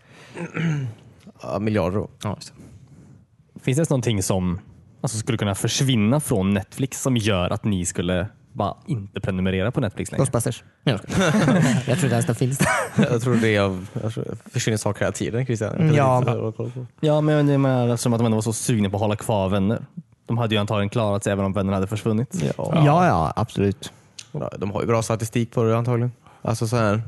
Ja, miljarder då.
Ja, just.
Finns det ens någonting som alltså, skulle kunna försvinna från Netflix som gör att ni skulle bara inte prenumerera på Netflix längre?
Ghostbusters. Nej, Jag skojar. Jag tror inte ens den finns.
Jag tror det är av, jag tror, det försvinner saker hela tiden Christian. Jag
Mm, ja.
vet inte vad jag kollar på.
Ja, men det menar eftersom att de ändå var så sugna på att hålla kvar vänner. De hade ju antagligen klarat sig även om vännerna hade försvunnit.
Ja,
Ja.
ja, absolut.
Ja, De har ju bra statistik på det antagligen. Alltså så här,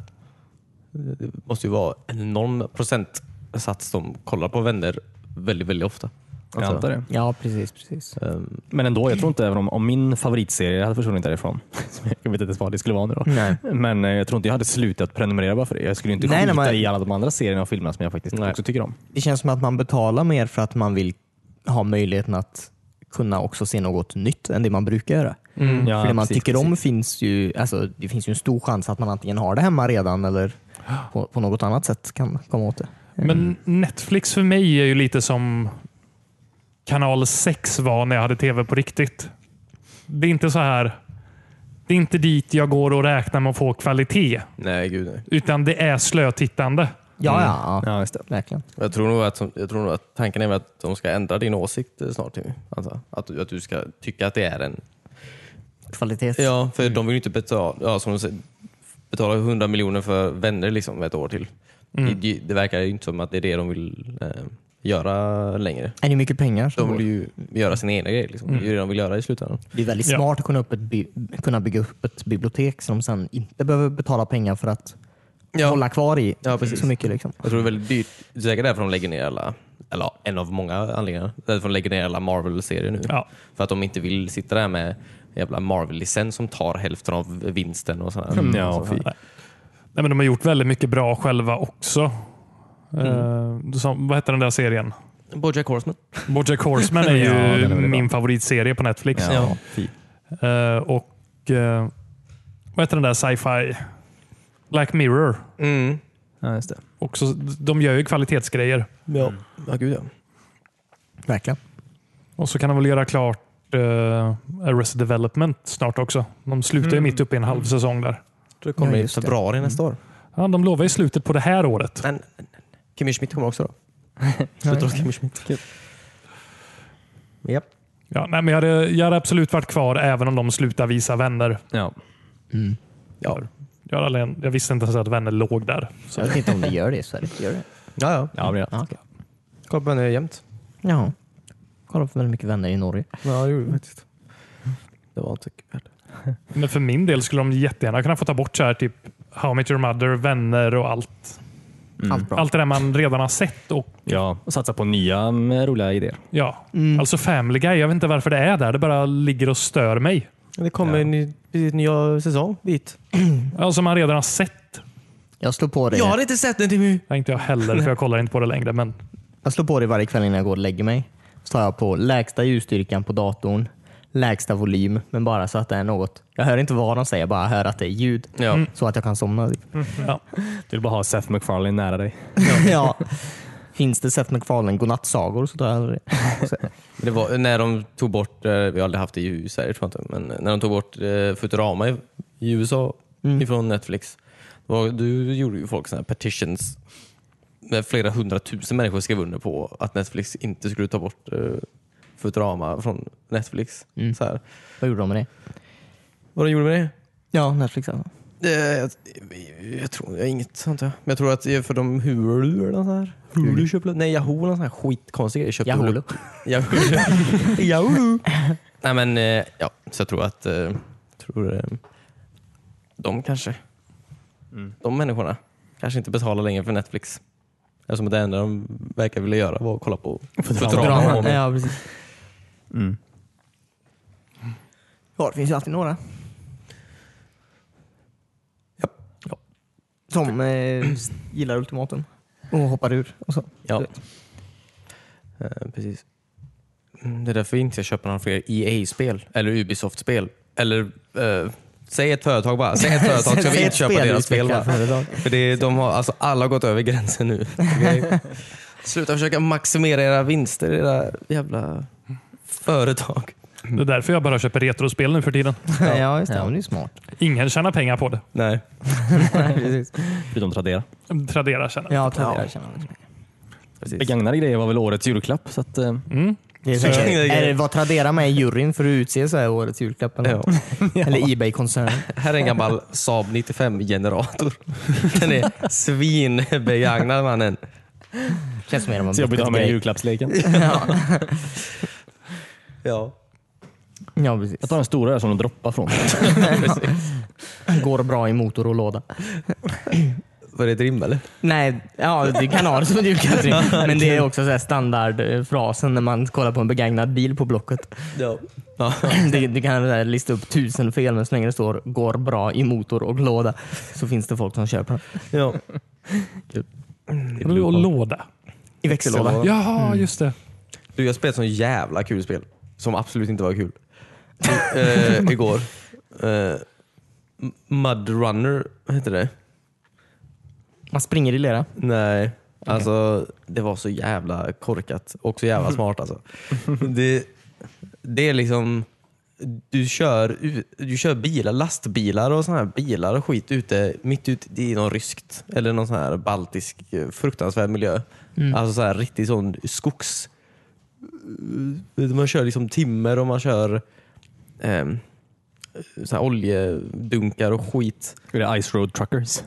det måste ju vara en enorm procentsats som kollar på vänner väldigt, väldigt ofta. Alltså,
Jag antar det.
Ja, precis. precis.
Ehm,
Men ändå, jag tror inte även om, om min favoritserie hade försvunnit därifrån. som Jag vet inte ens vad det skulle vara nu då.
Nej.
Men eh, jag tror inte jag hade slutat prenumerera bara för det. Jag skulle ju inte
Nej, nej,
skita
men-
i alla de andra serierna och filmerna som jag faktiskt
Nej.
också tycker om.
Det känns som att man betalar mer för att man vill ha möjligheten att kunna också se något nytt än det man brukar göra.
Mm. Ja,
för det man
precis,
tycker om
precis.
finns ju, alltså, det finns ju en stor chans att man antingen har det hemma redan eller på, på något annat sätt kan komma åt det.
Men Netflix för mig är ju lite som kanal 6 var när jag hade tv på riktigt. Det är inte så här. Det är inte dit jag går och räknar med att få kvalitet,
Nej, gud nej.
utan det är slötittande. Mm.
Ja, ja, Mm. ja.
Ja, just det.
Verkligen.
Jag tror nog att, som- jag tror nog att tanken är väl att de ska ändra din åsikt eh, snart Timmy. Alltså, att, du- att du ska tycka att det är en... Mm.
Kvalitet.
Ja, för de vill ju inte betala, ja, som de säger, betala 100 miljoner för vänner liksom ett år till. Det, det verkar ju inte som att det är det de vill eh, göra längre.
Är det mycket pengar? som
De
går?
vill ju göra sina egna grejer. Liksom. Det är ju det de vill göra i slutändan.
Det är väldigt
Ja.
smart att kunna, upp ett bi- kunna bygga upp ett bibliotek som sen inte behöver betala pengar för att hålla kvar i
Ja, precis.
så mycket. Liksom.
Jag tror det är väldigt dyrt. Det är säkert därför de lägger ner alla, eller ja, en av många anledningar, därför de lägger ner alla Marvel-serier nu.
Ja.
För att de inte vill sitta där med en jävla Marvel-licens som tar hälften av vinsten och sådär.
Mm.
Ja, fy.
Nej, men de har gjort väldigt mycket bra själva också.
Mm.
Eh, som, vad heter den där serien?
Bojack Horseman.
Bojack Horseman är ju
Ja, den är väldigt
min favoritserie på Netflix.
Ja, fy.
Eh, och eh, vad heter den där sci-fi? Black Mirror.
Mm.
Ja, just det.
Också, de gör ju kvalitetsgrejer.
Ja. ja, gud ja.
Verkligen.
Och så kan de väl göra klart uh, Arrested Development snart också. De slutar ju mitt uppe i en halv säsong där.
Det kommer
Ja,
i
just det.
februari nästa år.
Ja, de lovar ju slutet på det här året.
Men
Mm.
Kimmy Schmidt kommer också då. Slutar hos Kimmy Schmidt. Japp.
Ja, nej, men jag, hade, jag hade absolut varit kvar även om de slutar visa vänner.
Ja.
Mm.
Ja.
Jag, hade, aldrig- jag visste inte ens att vänner låg där.
Så jag vet inte om det gör det i Sverige. Gör det?
Ja, ja.
Ja, men ja.
Ja, okay.
Kolla på henne jämt.
Jaha. Kolla på väldigt mycket vänner i Norge.
Ja, det gjorde vi faktiskt. Det var inte kul.
Men för min del skulle de jättegärna kunna få ta bort så här typ How I Met Your Mother, Vänner och allt.
Mm.
Mm. Allt bra.
Allt det där man redan har sett. Och,
ja. Och satsa på nya mm, roliga idéer.
ja. Alltså Family Guy, jag vet inte varför det är där. Det bara ligger och stör mig.
Det kommer en ny, en ny säsong dit.
Alltså man redan har sett.
Jag slår på det.
Jag har inte sett den Timmy.
Nej, inte jag heller, för jag kollar inte på det längre. Men
Jag slår på det varje kväll innan jag går och lägger mig. Så tar jag på lägsta ljusstyrkan på datorn, lägsta volym, men bara så att det är något. Jag hör inte vad de säger, bara hör att det är ljud.
Ja.
Så att jag kan somna. typ.
ja.
Du vill bara ha Seth MacFarlane nära dig.
ja. Finns det Seth MacFarlane godnattsagor så tar jag hellre det.
Det var när de tog bort, eh, vi har aldrig haft det i Sverige tror jag inte, men när de tog bort eh, Futurama i, i USA
Mm.
ifrån Netflix. Det Var, du gjorde ju folk såna här petitions med flera hundratusen människor skrev under på att Netflix inte skulle ta bort eh, Futurama från Netflix.
Mm.
Så här.
Vad gjorde de med det?
Vad de gjorde med det?
Ja, Netflix alltså.
Eh, Jag, jag tror jag, inget antar jag. Men jag tror att det är för de Hulu eller något sånt här. Hulu köpte... Nej, Yahoo eller något sånt här skitkonstig grej. köpte
Yahoo.
Hulu. Yahoo. Yahoo. Nej men eh, ja, så jag tror att... eh, Jag tror eh, de kanske... De människorna kanske inte betalar längre för Netflix. Eftersom det enda de verkar vilja göra var att kolla på Futurama.
Drama. Ja, precis.
Mm.
Ja, det finns ju alltid några.
Ja.
Ja. Som eh, s- gillar ultimatum och hoppar ur. Och så.
Ja. Eh, precis. Mm, Det är därför inte jag köper några fler EA-spel eller Ubisoft-spel. Eller eh, säg ett företag bara. Säg ett företag så
Säg
vi
ett
inte köpa
spel,
deras spel.
utveckla
bara.
företag.
För det, de har, alltså, alla har gått över gränsen nu. Okej? Sluta försöka maximera era vinster, era jävla företag.
Det är därför jag bara köper retrospel nu för tiden.
Ja, just det. Ja, men det är ju smart.
Ingen tjänar pengar på det.
Nej.
Förutom Tradera.
Tradera tjänar.
Ja, Tradera tjänar man inte.
Precis.
Begagnade grejer var väl årets julklapp. Så att, eh,
Mm.
det är
Så-
säkert-
Ja.
eh, är det vad Tradera med i juryn för att utse så här årets julklapp? Eller,
Ja.
eller Ebay-koncernen?
Här är en gammal Saab 95-generator. Den är svinbegagnad mannen.
Känns mer om en
så jobbigt att ha med i
buffetgrej.
julklappsleken.
Ja.
Ja, precis.
Jag tar den stora där som de droppar från.
Går bra i motor och låda.
Var det ett rim eller?
Nej, ja, du kan ha det som en julklapp. Men det är också så här standardfrasen när man kollar på en begagnad bil på Blocket.
Ja. ja.
Du, du kan så här lista upp tusen fel, men så länge det står går bra i motor och låda så finns det folk som köper den.
ja.
Och låda.
I växellåda.
Växellåda.
Jaha, just det.
Du, jag spelade ett sånt jävla kul spel som absolut inte var kul. I, eh, igår. Eh, M- Mud Runner hette det.
Man springer i lera.
Nej, alltså det var så jävla korkat och så jävla smart alltså. det, det är liksom, du kör, ut- du kör bilar, lastbilar och såna här bilar och skit ute, mitt ute i någon ryskt eller någon sån här baltisk eh, fruktansvärd miljö. Alltså så här riktig sån skogs... Man kör liksom timmer och man kör ehm, så här oljedunkar och skit.
Är det Ice Road Truckers?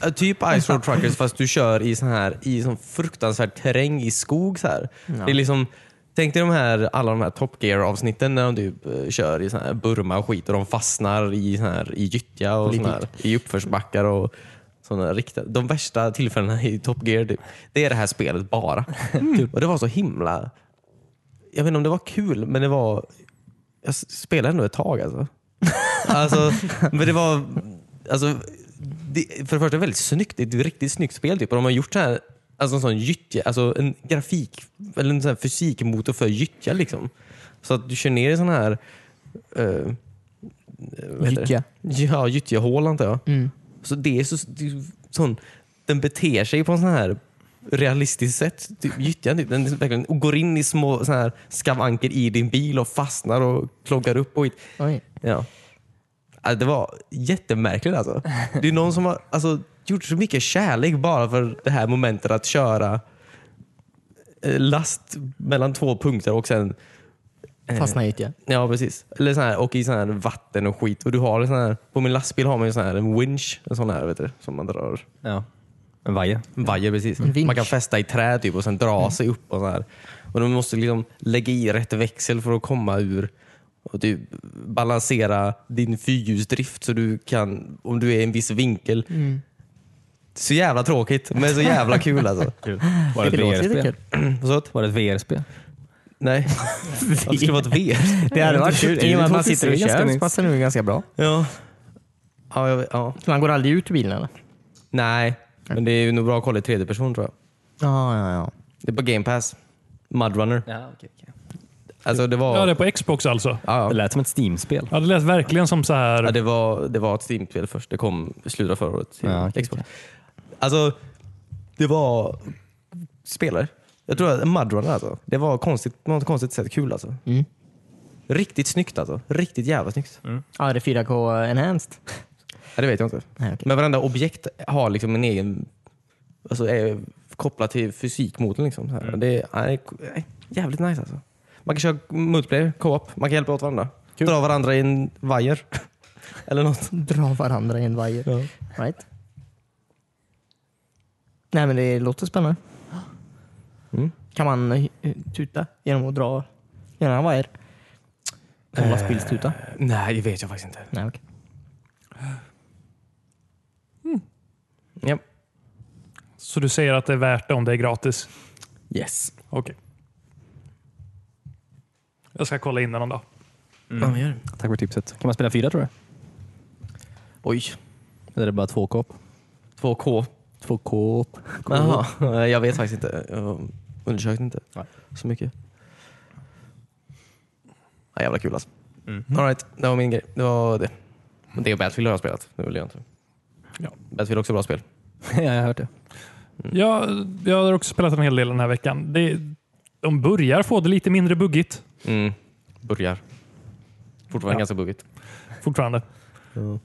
Ja, Typ Ice Road Truckers fast du kör i sån här i sån fruktansvärd terräng i skog. Så här. Det är liksom, tänk dig de här, alla de här Top Gear avsnitten när de typ, eh, kör i sån här Burma och skit och de fastnar i, sån här, i gyttja och sån här, i uppförsbackar. Och, såna riktiga, de värsta tillfällena i Top Gear, typ. det är det här spelet bara. Och Det var så himla... Jag vet inte om det var kul, men det var... Jag spelade ändå ett tag alltså. alltså men det var... Alltså, det, för det första väldigt snyggt. Det är ett riktigt snyggt spel. Typ. Och de har gjort så här, alltså en sån gyttja, alltså en grafik eller en sån här fysikmotor för gyttja. Liksom. Så att du kör ner i sån här... eh, eh, vad heter det?
Gyttja.
Ja, gyttjehål antar jag. Så det är så, det är sån, den beter sig på en sån här realistiskt sätt. Typ, gyttjan typ. Den är verkligen, och går in i små sån här skavanker i din bil och fastnar och kloggar upp och skit.
Oj.
Ja. Alltså, det var jättemärkligt alltså. Det är någon som har alltså, gjort så mycket kärlek bara för det här momentet att köra eh, last mellan två punkter och sen
Fastnar i gyttja.
Ja precis. Eller sån här, och i sån här vatten och skit. Och du har en sån här, på min lastbil har man ju sån här, en winch, en sån här vet du, som man drar.
Ja. En vajer.
En vajer precis.
vinch.
Man kan fästa i trä typ, och sen dra sig upp. Och så här. Och de måste liksom lägga i rätt växel för att komma ur och typ balansera din fyrhjulsdrift så du kan, om du är i en viss vinkel. Så jävla tråkigt, men så jävla kul alltså.
Var det ett
Det låter lite
VR-spel?
kul.
Vad sa du?
Var det ett VR-spel?
Nej, det skulle vara ett VR.
Det hade varit
Det är
kul. I och med att man
tråkigt,
sitter och
det är ganska
kör så
nytt.
passar det nog ganska bra.
Ja. Ja, jag vet, ja.
Så man går aldrig ut ur bilen eller?
Nej, men det är ju nog bra koll i tredje person tror jag.
Ja, ja, ja.
Det är på game pass. Mudrunner.
Ja, okay, okay.
Alltså det var...
Ja, det är på Xbox alltså.
Ja,
Det
ja.
lät som ett Steam-spel.
Ja, det lät verkligen som så
Ja,
här.
det, var, det var ett Steam-spel först. Det kom i slutet av förra året. till
Ja, okej,
Xbox. Alltså, det var spelare. Jag tror att Mudrunner alltså. Det var konstigt, på något konstigt sätt kul alltså.
Mm.
Riktigt snyggt alltså. Riktigt jävla snyggt.
Ja, är det 4K enhanced?
Ja, det vet jag inte.
Nej, okej.
Men varenda objekt har liksom en egen... Alltså är kopplat till fysikmotorn. Liksom, så här. Det är, nej, nej, jävligt nice alltså. Man kan köra multiplayer, co-op. Man kan hjälpa åt varandra. Dra varandra i en vajer. Eller något.
Dra varandra i en vajer.
Ja.
Right. Nej, men det låter spännande.
Mm.
Kan man eh, tuta genom att dra genom en vajer?
Eh,
Som lastbilstuta?
Nej, det vet jag faktiskt inte.
Nej, okej.
Ja.
Så du säger att det är värt det om det är gratis?
Yes.
Okej. Jag ska kolla in den någon dag.
Mm.
Tack för tipset. Kan man spela fyra tror du?
Oj,
Eller är det bara två kåp?
2K.
Två kåp.
Jaha. Jag vet faktiskt inte. Jag undersökte inte
Nej.
så mycket. Ja, jävla kul alltså. All right, det var min grej. Det var det. Men det och Battlefield har jag spelat. Det vill jag inte.
Ja.
Battlefield är också bra spel.
ja, jag har hört det.
Mm.
Jag, jag har också spelat en hel del den här veckan. Det, de börjar få det lite mindre buggigt
Mm. Börjar. Fortfarande
Ja.
ganska buggigt.
fortfarande. Eh,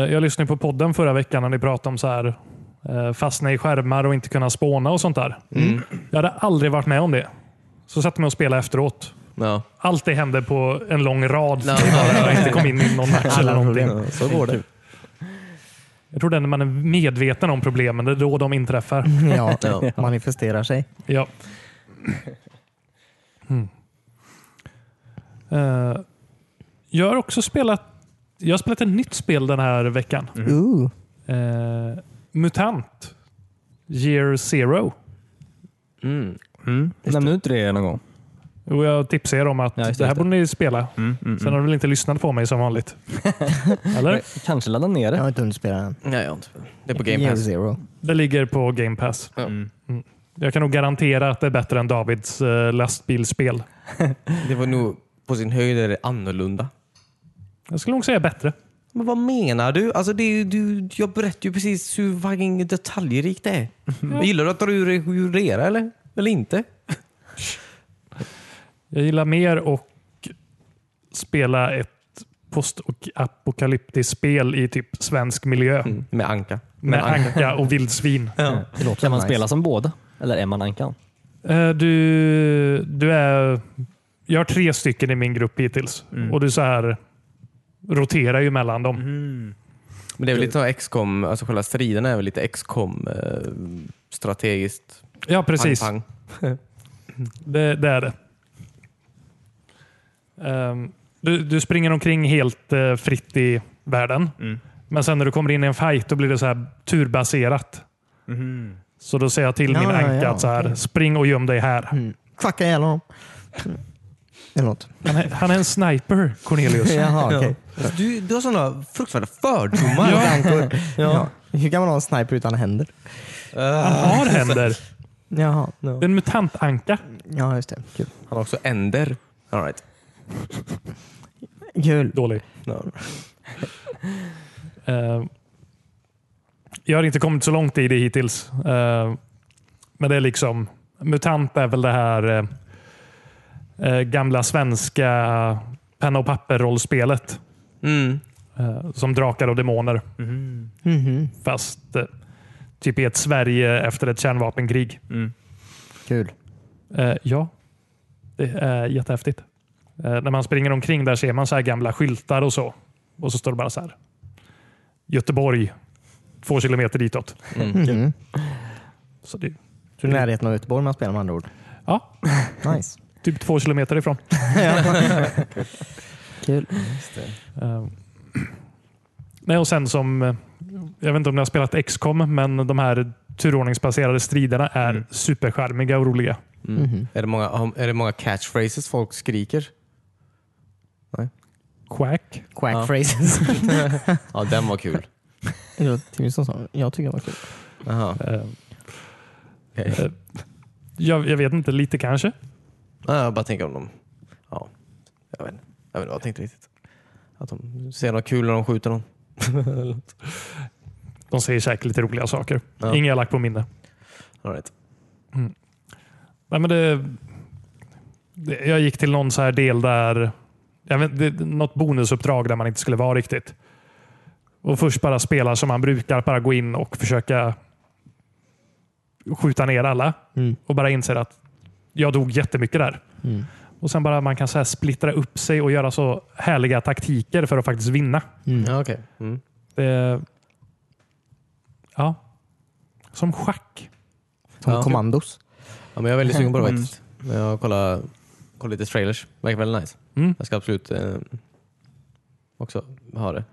Jag lyssnade på podden förra veckan när ni pratade om så här, eh, fastna i skärmar och inte kunna spåna och sånt där.
Mm.
Jag hade aldrig varit med om det. Så satte jag mig och spelade efteråt.
Ja.
Allt det hände på en lång rad.
Ja.
Det var bara inte kom in i någon match eller
Alla
någonting.
problem.
Så går det.
Jag tror det är när man är medveten om problemen, det är då de inträffar.
Ja,
Ja.
manifesterar sig.
Ja. Mm. Eh, jag har också spelat Jag har spelat ett nytt spel den här veckan.
Ooh.
Eh, Mutant Year Zero.
Mm.
Nämnde du inte det någon gång?
Och jag tipsade er om att
Ja, just det,
det här
just det.
borde ni spela.
Mm, mm,
Sen har du väl inte lyssnat på mig som vanligt? Eller?
Kanske ladda ner
Jag
det.
har inte hunnit spela den.
Nej, jag har inte spelat. Det är på Game
Year
Pass.
Zero.
Det ligger på Game Pass. Mm. Jag kan nog garantera att det är bättre än Davids eh, lastbilsspel.
Det var nog på sin höjd är det annorlunda.
Jag skulle nog säga bättre.
Men vad menar du? Alltså det, är ju- du jag berättar ju precis hur fucking detaljrikt det är.
Mm.
Gillar du att dra ur dig ur era eller? Eller inte?
Jag gillar mer och spela ett postapokalyptiskt spel i typ svensk miljö
Mm. Med anka.
Mm. med anka och vildsvin.
Kan man
nice.
spela som båda? Eller är man ankan?
Eh, Du, du är... Jag har tre stycken i min grupp hittills och du så här roterar ju mellan dem.
Men det är väl lite XCOM, alltså själva striden är väl lite XCOM eh, strategiskt.
Ja, precis.
Pang, pang.
Det, det är det. Ehm, du, du springer omkring helt eh, fritt i världen. Men sen när du kommer in i en fight då blir det så här turbaserat. Så då säger jag till min
Ja,
anka
Ah, ja,
att så här,
okej.
spring och göm dig här.
Mm. Kvacka ihjäl honom. Eller något.
Han, är, han är en sniper, Cornelius.
Jaha, okej.
Alltså, du, du har sådana fruktansvärda fördomar.
Ja. Ja. Hur kan man ha en sniper utan händer?
Han har händer.
Jaha. No.
Det är en mutantanka.
Ja, just det. Kul.
Han har också änder. All right.
Kul.
Dålig.
no.
Eh, jag har inte kommit så långt i det hittills. Eh, men det är liksom, MUTANT är väl det här eh, eh, gamla svenska penna och papper-rollspelet.
mm.
eh, som drakar och demoner.
Mm.
Mhm.
Fast eh, typ i ett Sverige efter ett kärnvapenkrig.
Kul.
Eh, ja, det är jättehäftigt. Eh, när man springer omkring där ser man så här gamla skyltar och så. Och så står det bara så här. Göteborg, två kilometer ditåt.
Mm.
Mhm.
Så det,
Så i närheten av Göteborg man spelar med andra ord.
ja,
Nice.
typ två kilometer ifrån.
Kul.
Eh, Nej, och sen som, eh, jag vet inte om ni har spelat XCOM, men de här turordningsbaserade striderna är superskärmiga och roliga.
Mm.
Mhm.
Är, det många, har- är det många catchphrases folk skriker?
Quack.
Quack
Ja.
phrases.
Ja, den var kul.
Ja, Timmy sa jag tycker det var kul.
Aha.
Eh,
okej.
Eh, Jag, jag vet inte, lite kanske.
Ja, jag bara tänker om de... Ja, jag vet inte. Jag vet inte vad jag tänkte riktigt. Att de ser något kul när de skjuter någon.
De säger säkert lite roliga saker.
Ja.
Inga jag lagt på minne.
All right.
Nej, men det, det, jag gick till någon så här del där, jag vet, det, något bonusuppdrag där man inte skulle vara riktigt. Och Först bara spela som man brukar, bara gå in och försöka skjuta ner alla.
Mm.
Och bara inser att jag dog jättemycket där.
Mm.
Och Sen bara man kan så här splittra upp sig och göra så härliga taktiker för att faktiskt vinna.
Ja, okej. Mm.
Det, ja. Som schack.
Som
Ja.
kommandos.
Ja, men jag är väldigt sugen på det
Mm.
faktiskt. Men Jag kollar, kollar lite trailers. Verkar väldigt nice.
Mm.
Jag ska absolut eh, också ha det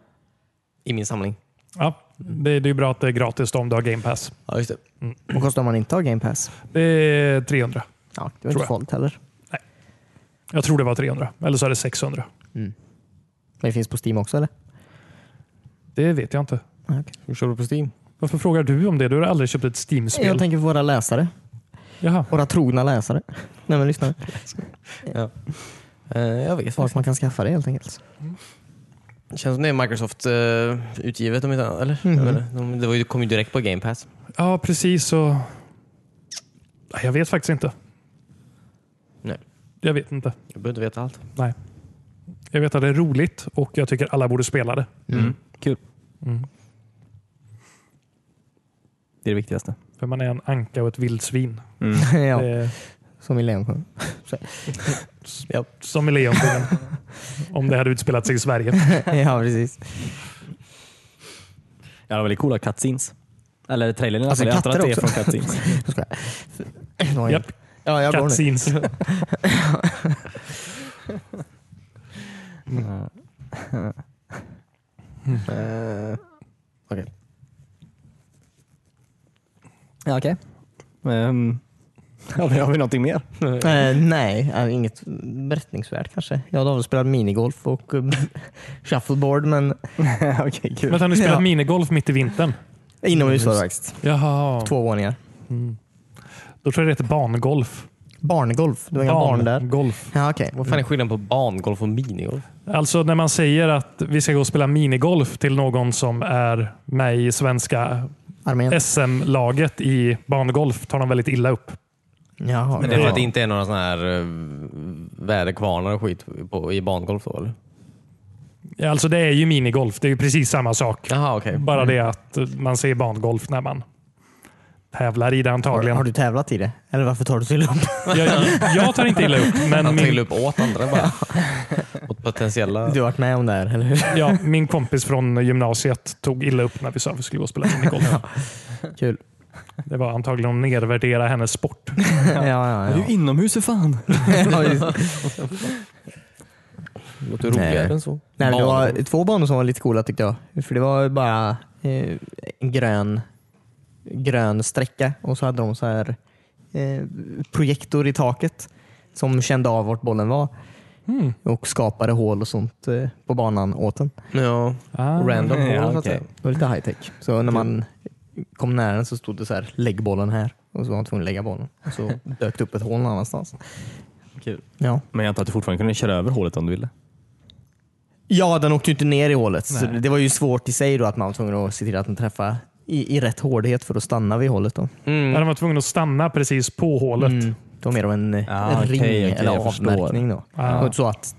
i min samling.
Ja, det, det är ju bra att det är gratis då om du har Game Pass.
Ja, just det.
Vad kostar om man inte har Game Pass?
Det är 300.
Ja, det var
Tror
inte
jag.
farligt heller.
Jag tror det var 300, eller så är det 600.
Men det finns på Steam också eller?
Det vet jag inte.
Ja, okej.
Hur kör du på Steam?
Varför frågar du om det? Du har aldrig köpt ett
Jag
Steam-spel.
tänker på våra läsare.
Jaha.
Våra trogna läsare. Nej men lyssna.
Eh, jag vet
Vart
faktiskt.
man kan skaffa det helt enkelt.
Det känns som det är Microsoft-utgivet om inte annat. Eller? Jag vet inte. De, det var ju, kom ju direkt på Game Pass.
Ja, precis. Och... Nej, Jag vet faktiskt inte.
Nej.
Jag vet inte.
Jag behöver inte veta allt.
Nej. Jag vet att det är roligt och jag tycker alla borde spela det.
Kul.
Mm.
Det är det viktigaste.
För man är en anka och ett vildsvin.
Mm.
ja,
Det är
som i Lejonkungen.
som i Lejonkungen. om det hade utspelat sig i Sverige.
ja precis.
Ja, det var väldigt coola cutscenes. Eller trailern i alla
Alltså,
fall. Jag antar att
katter
det är från cutscenes.
Oj.
Japp.
Ja, jag går nu.
Cutscenes.
Eh,
ja, okej. Ehm, har, vi, har vi någonting mer?
Eh, nej, eh, inget berättningsvärt kanske. Jag har väl spelat minigolf och eh, shuffleboard, men
okej, kul.
Men har ni spelat
Ja.
minigolf mitt i vintern?
inomhus var det faktiskt.
Jaha. Mm.
Två våningar.
Då tror jag det heter bangolf.
Barngolf? Det var inga barn, där?
Golf.
Ja, okej.
Vad fan är skillnaden på bangolf och minigolf?
Alltså när man säger att vi ska gå och spela minigolf till någon som är med i svenska
Armén.
SM-laget i barngolf tar de väldigt illa upp.
Jaha.
Men det är för
Ja.
att det inte är några sådana här eh, väderkvarnar och skit på, i bangolf då eller?
Alltså det är ju minigolf. Det är ju precis samma sak.
Jaha okej.
Bara det att man säger barngolf när man tävlar i det
har,
antagligen.
har du tävlat i det? Eller varför tar du så illa upp?
Jag, jag tar inte illa upp,
Han
men
tar
min,
illa upp åt andra bara. åt potentiella.
Du har varit med om det här, eller hur?
ja, min kompis från gymnasiet tog illa upp när vi sa att vi skulle gå och spela minigolf.
Kul.
Det var antagligen att nedvärdera hennes sport.
Ja, ja,
Du
ja.
är ju inomhus för fan.
Ja, just-
Låter roligare
Nej.
än så.
Nej, men det
Bangolf.
var två banor som var lite coola tyckte jag. För det var ju bara eh, en grön, grön sträcka och så hade de så här eh, projektor i taket som kände av vart bollen var
Hmm.
Mm.
och skapade hål och sånt eh, på banan åt den.
Ja, random
ja,
hål så att
Ah, okej.
säga.
Det var lite high tech. Så när man kom nära den så stod det så här lägg bollen här och så var man tvungen att lägga bollen. Och så dök det upp ett hål någon annanstans.
Kul.
Ja.
Men jag antar att du fortfarande kunde köra över hålet om du ville.
Ja, den åkte ju inte ner i hålet. Så
Nej.
det var ju svårt i sig då att man var tvungen att se till att den träffade i, i rätt hårdhet för att stanna vid hålet. Då.
Ja, De var tvungna att stanna precis på hålet.
Mm. Det var mer av en, eh,
Ah,
en
okej,
ring
okej,
eller
jag förstår. Ah.
avmärkning. Då. Det var inte så att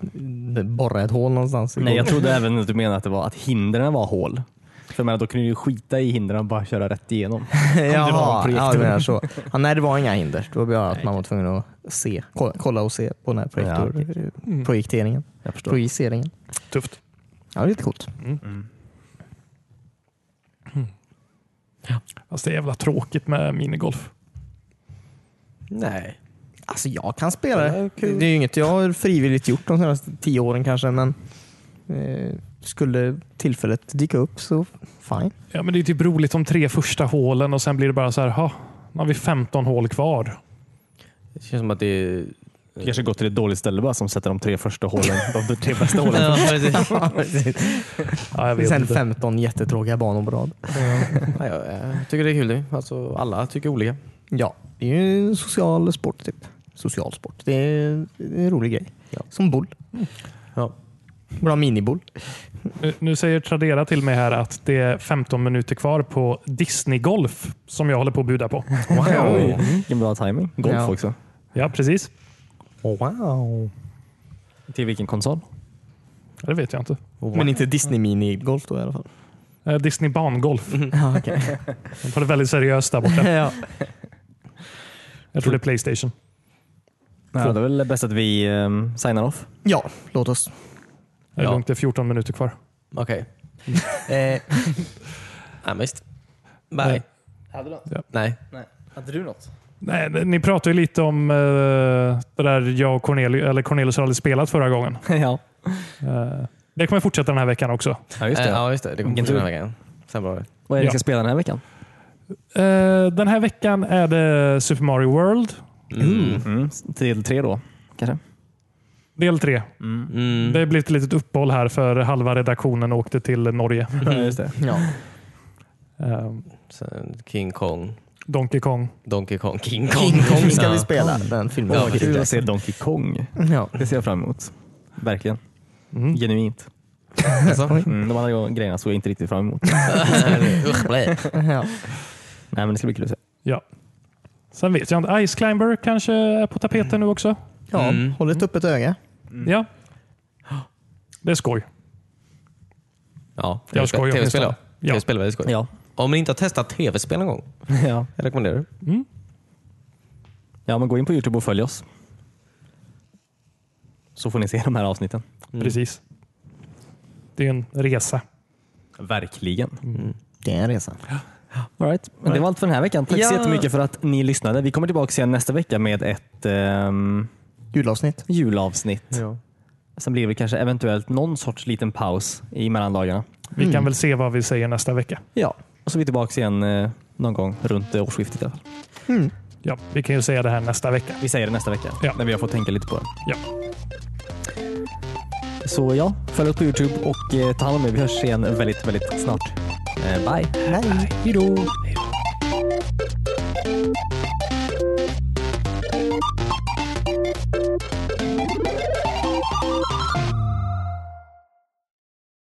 det borra ett hål någonstans. i
Nej, jag
golvet.
trodde även att du menade att det var att hindren var hål. För jag menar, då kunde du ju skita i hindren och bara köra rätt igenom.
Jaha,
projektorn.
ja, du menar så. Ja, nej, det var inga hinder. Det var bara att man var tvungen att se, ko- kolla och se på den här projektor,
Ja, Mm.
eh, projekteringen.
Jag förstår.
Projiceringen.
Tufft.
Ja, det är lite coolt.
Fast det är jävla tråkigt med minigolf.
Nej.
Alltså jag kan spela
Ja, det
det.
är kul.
Det är ju inget jag har frivilligt gjort de senaste tio åren kanske, men eh, skulle tillfället dyka upp så fine.
Ja, men det är typ roligt de tre första hålen och sen blir det bara så här, ha, nu har vi 15 hål kvar.
Det känns som att det är...
Du kanske gått till ett dåligt ställe bara som sätter de tre första hålen, de tre bästa hålen.
Ja, precis.
Ja, jag vet
Sen
inte.
15 jättetråkiga banor på rad.
Nej, jag, jag tycker det är kul det. Alltså, alla tycker olika.
Ja, det är ju en social sport typ. Social sport. Det är, det är en rolig grej. Som boll.
Mm. Ja.
Bra miniboll.
Nu, nu säger Tradera till mig här att det är 15 minuter kvar på Disney-golf som jag håller på att buda på.
Oj, Vilken bra timing. Golf
Ja.
också.
Ja, precis.
Wow.
Till vilken konsol?
Ja, Det vet jag inte.
Men inte Disney minigolf då i alla fall.
Eh, Disney Bangolf.
Ja, okej.
De tar det väldigt seriöst där borta.
Mm. ja.
Jag tror det är Playstation.
Ja, det är väl bäst att vi um, signar off.
ja, låt oss.
Det är
Ja.
lugnt, det är 14 minuter kvar.
Okej. eh, nej, visst. Nej. Hade du
Ja.
Nej.
Hade du något?
Nej, ni pratade ju lite om eh, det där jag och Cornelius, eller Cornelius har aldrig spelat förra gången.
ja.
Eh, det kommer fortsätta den här veckan också.
ja, just det.
Eh, ja, just det. Det kommer
Vilken
fortsätta
tur.
den här veckan. Sen var det.
Vad är det vi
Ja.
ska spela den här veckan?
Eh, Den här veckan är det Super Mario World,
Mm.
Mm. Till tre då, kanske?
del tre.
Mm.
Det blev ett litet uppehåll här för halva redaktionen åkte till Norge.
just det.
Ja.
Eh,
Sen King Kong.
Donkey Kong.
Donkey Kong. King Kong.
King Kong ska
Ja.
vi spela. Den filmen.
Ja,
Kul att se Donkey Kong.
Ja.
Det ser jag fram emot. Verkligen.
Mm.
Genuint.
Alltså.
Mm, de andra grejerna såg jag inte riktigt fram emot.
Usch, blä.
Ja.
Nej, men det ska bli kul att se.
Ja. Sen vet jag inte. Ice Climber kanske är på tapeten nu också.
ja.
Mm.
Håll ett öppet öga.
Mm.
Ja. Det är skoj.
Ja,
Jag skojar,
Tv-spel ja.
åtminstone. Ja.
Tv-spel är väldigt skoj.
Ja.
Om ni inte har testat tv-spel någon gång,
ja.
jag rekommenderar det.
Ja, men gå in på Youtube och följ oss. Så får ni se de här avsnitten.
Precis. Det är en resa.
Verkligen.
Det är en resa.
All right. Men det var allt för den här veckan. Tack så jättemycket för att ni lyssnade. Vi kommer tillbaka igen nästa vecka med ett ehm,
Julavsnitt.
julavsnitt.
Ja.
Sen blir det kanske eventuellt någon sorts liten paus i mellandagarna.
Vi
Mm.
kan väl se vad vi säger nästa vecka.
Ja. Och så är vi tillbaka igen eh, någon gång runt eh, årsskiftet. i alla fall.
Ja, vi kan ju säga det här nästa vecka.
Vi säger det nästa vecka
Ja.
när vi har fått tänka lite på det.
Ja.
Så ja, följ oss på Youtube och eh, ta hand om er. Vi hörs igen väldigt, väldigt snart. Eh, bye!
Nej.
Hej då!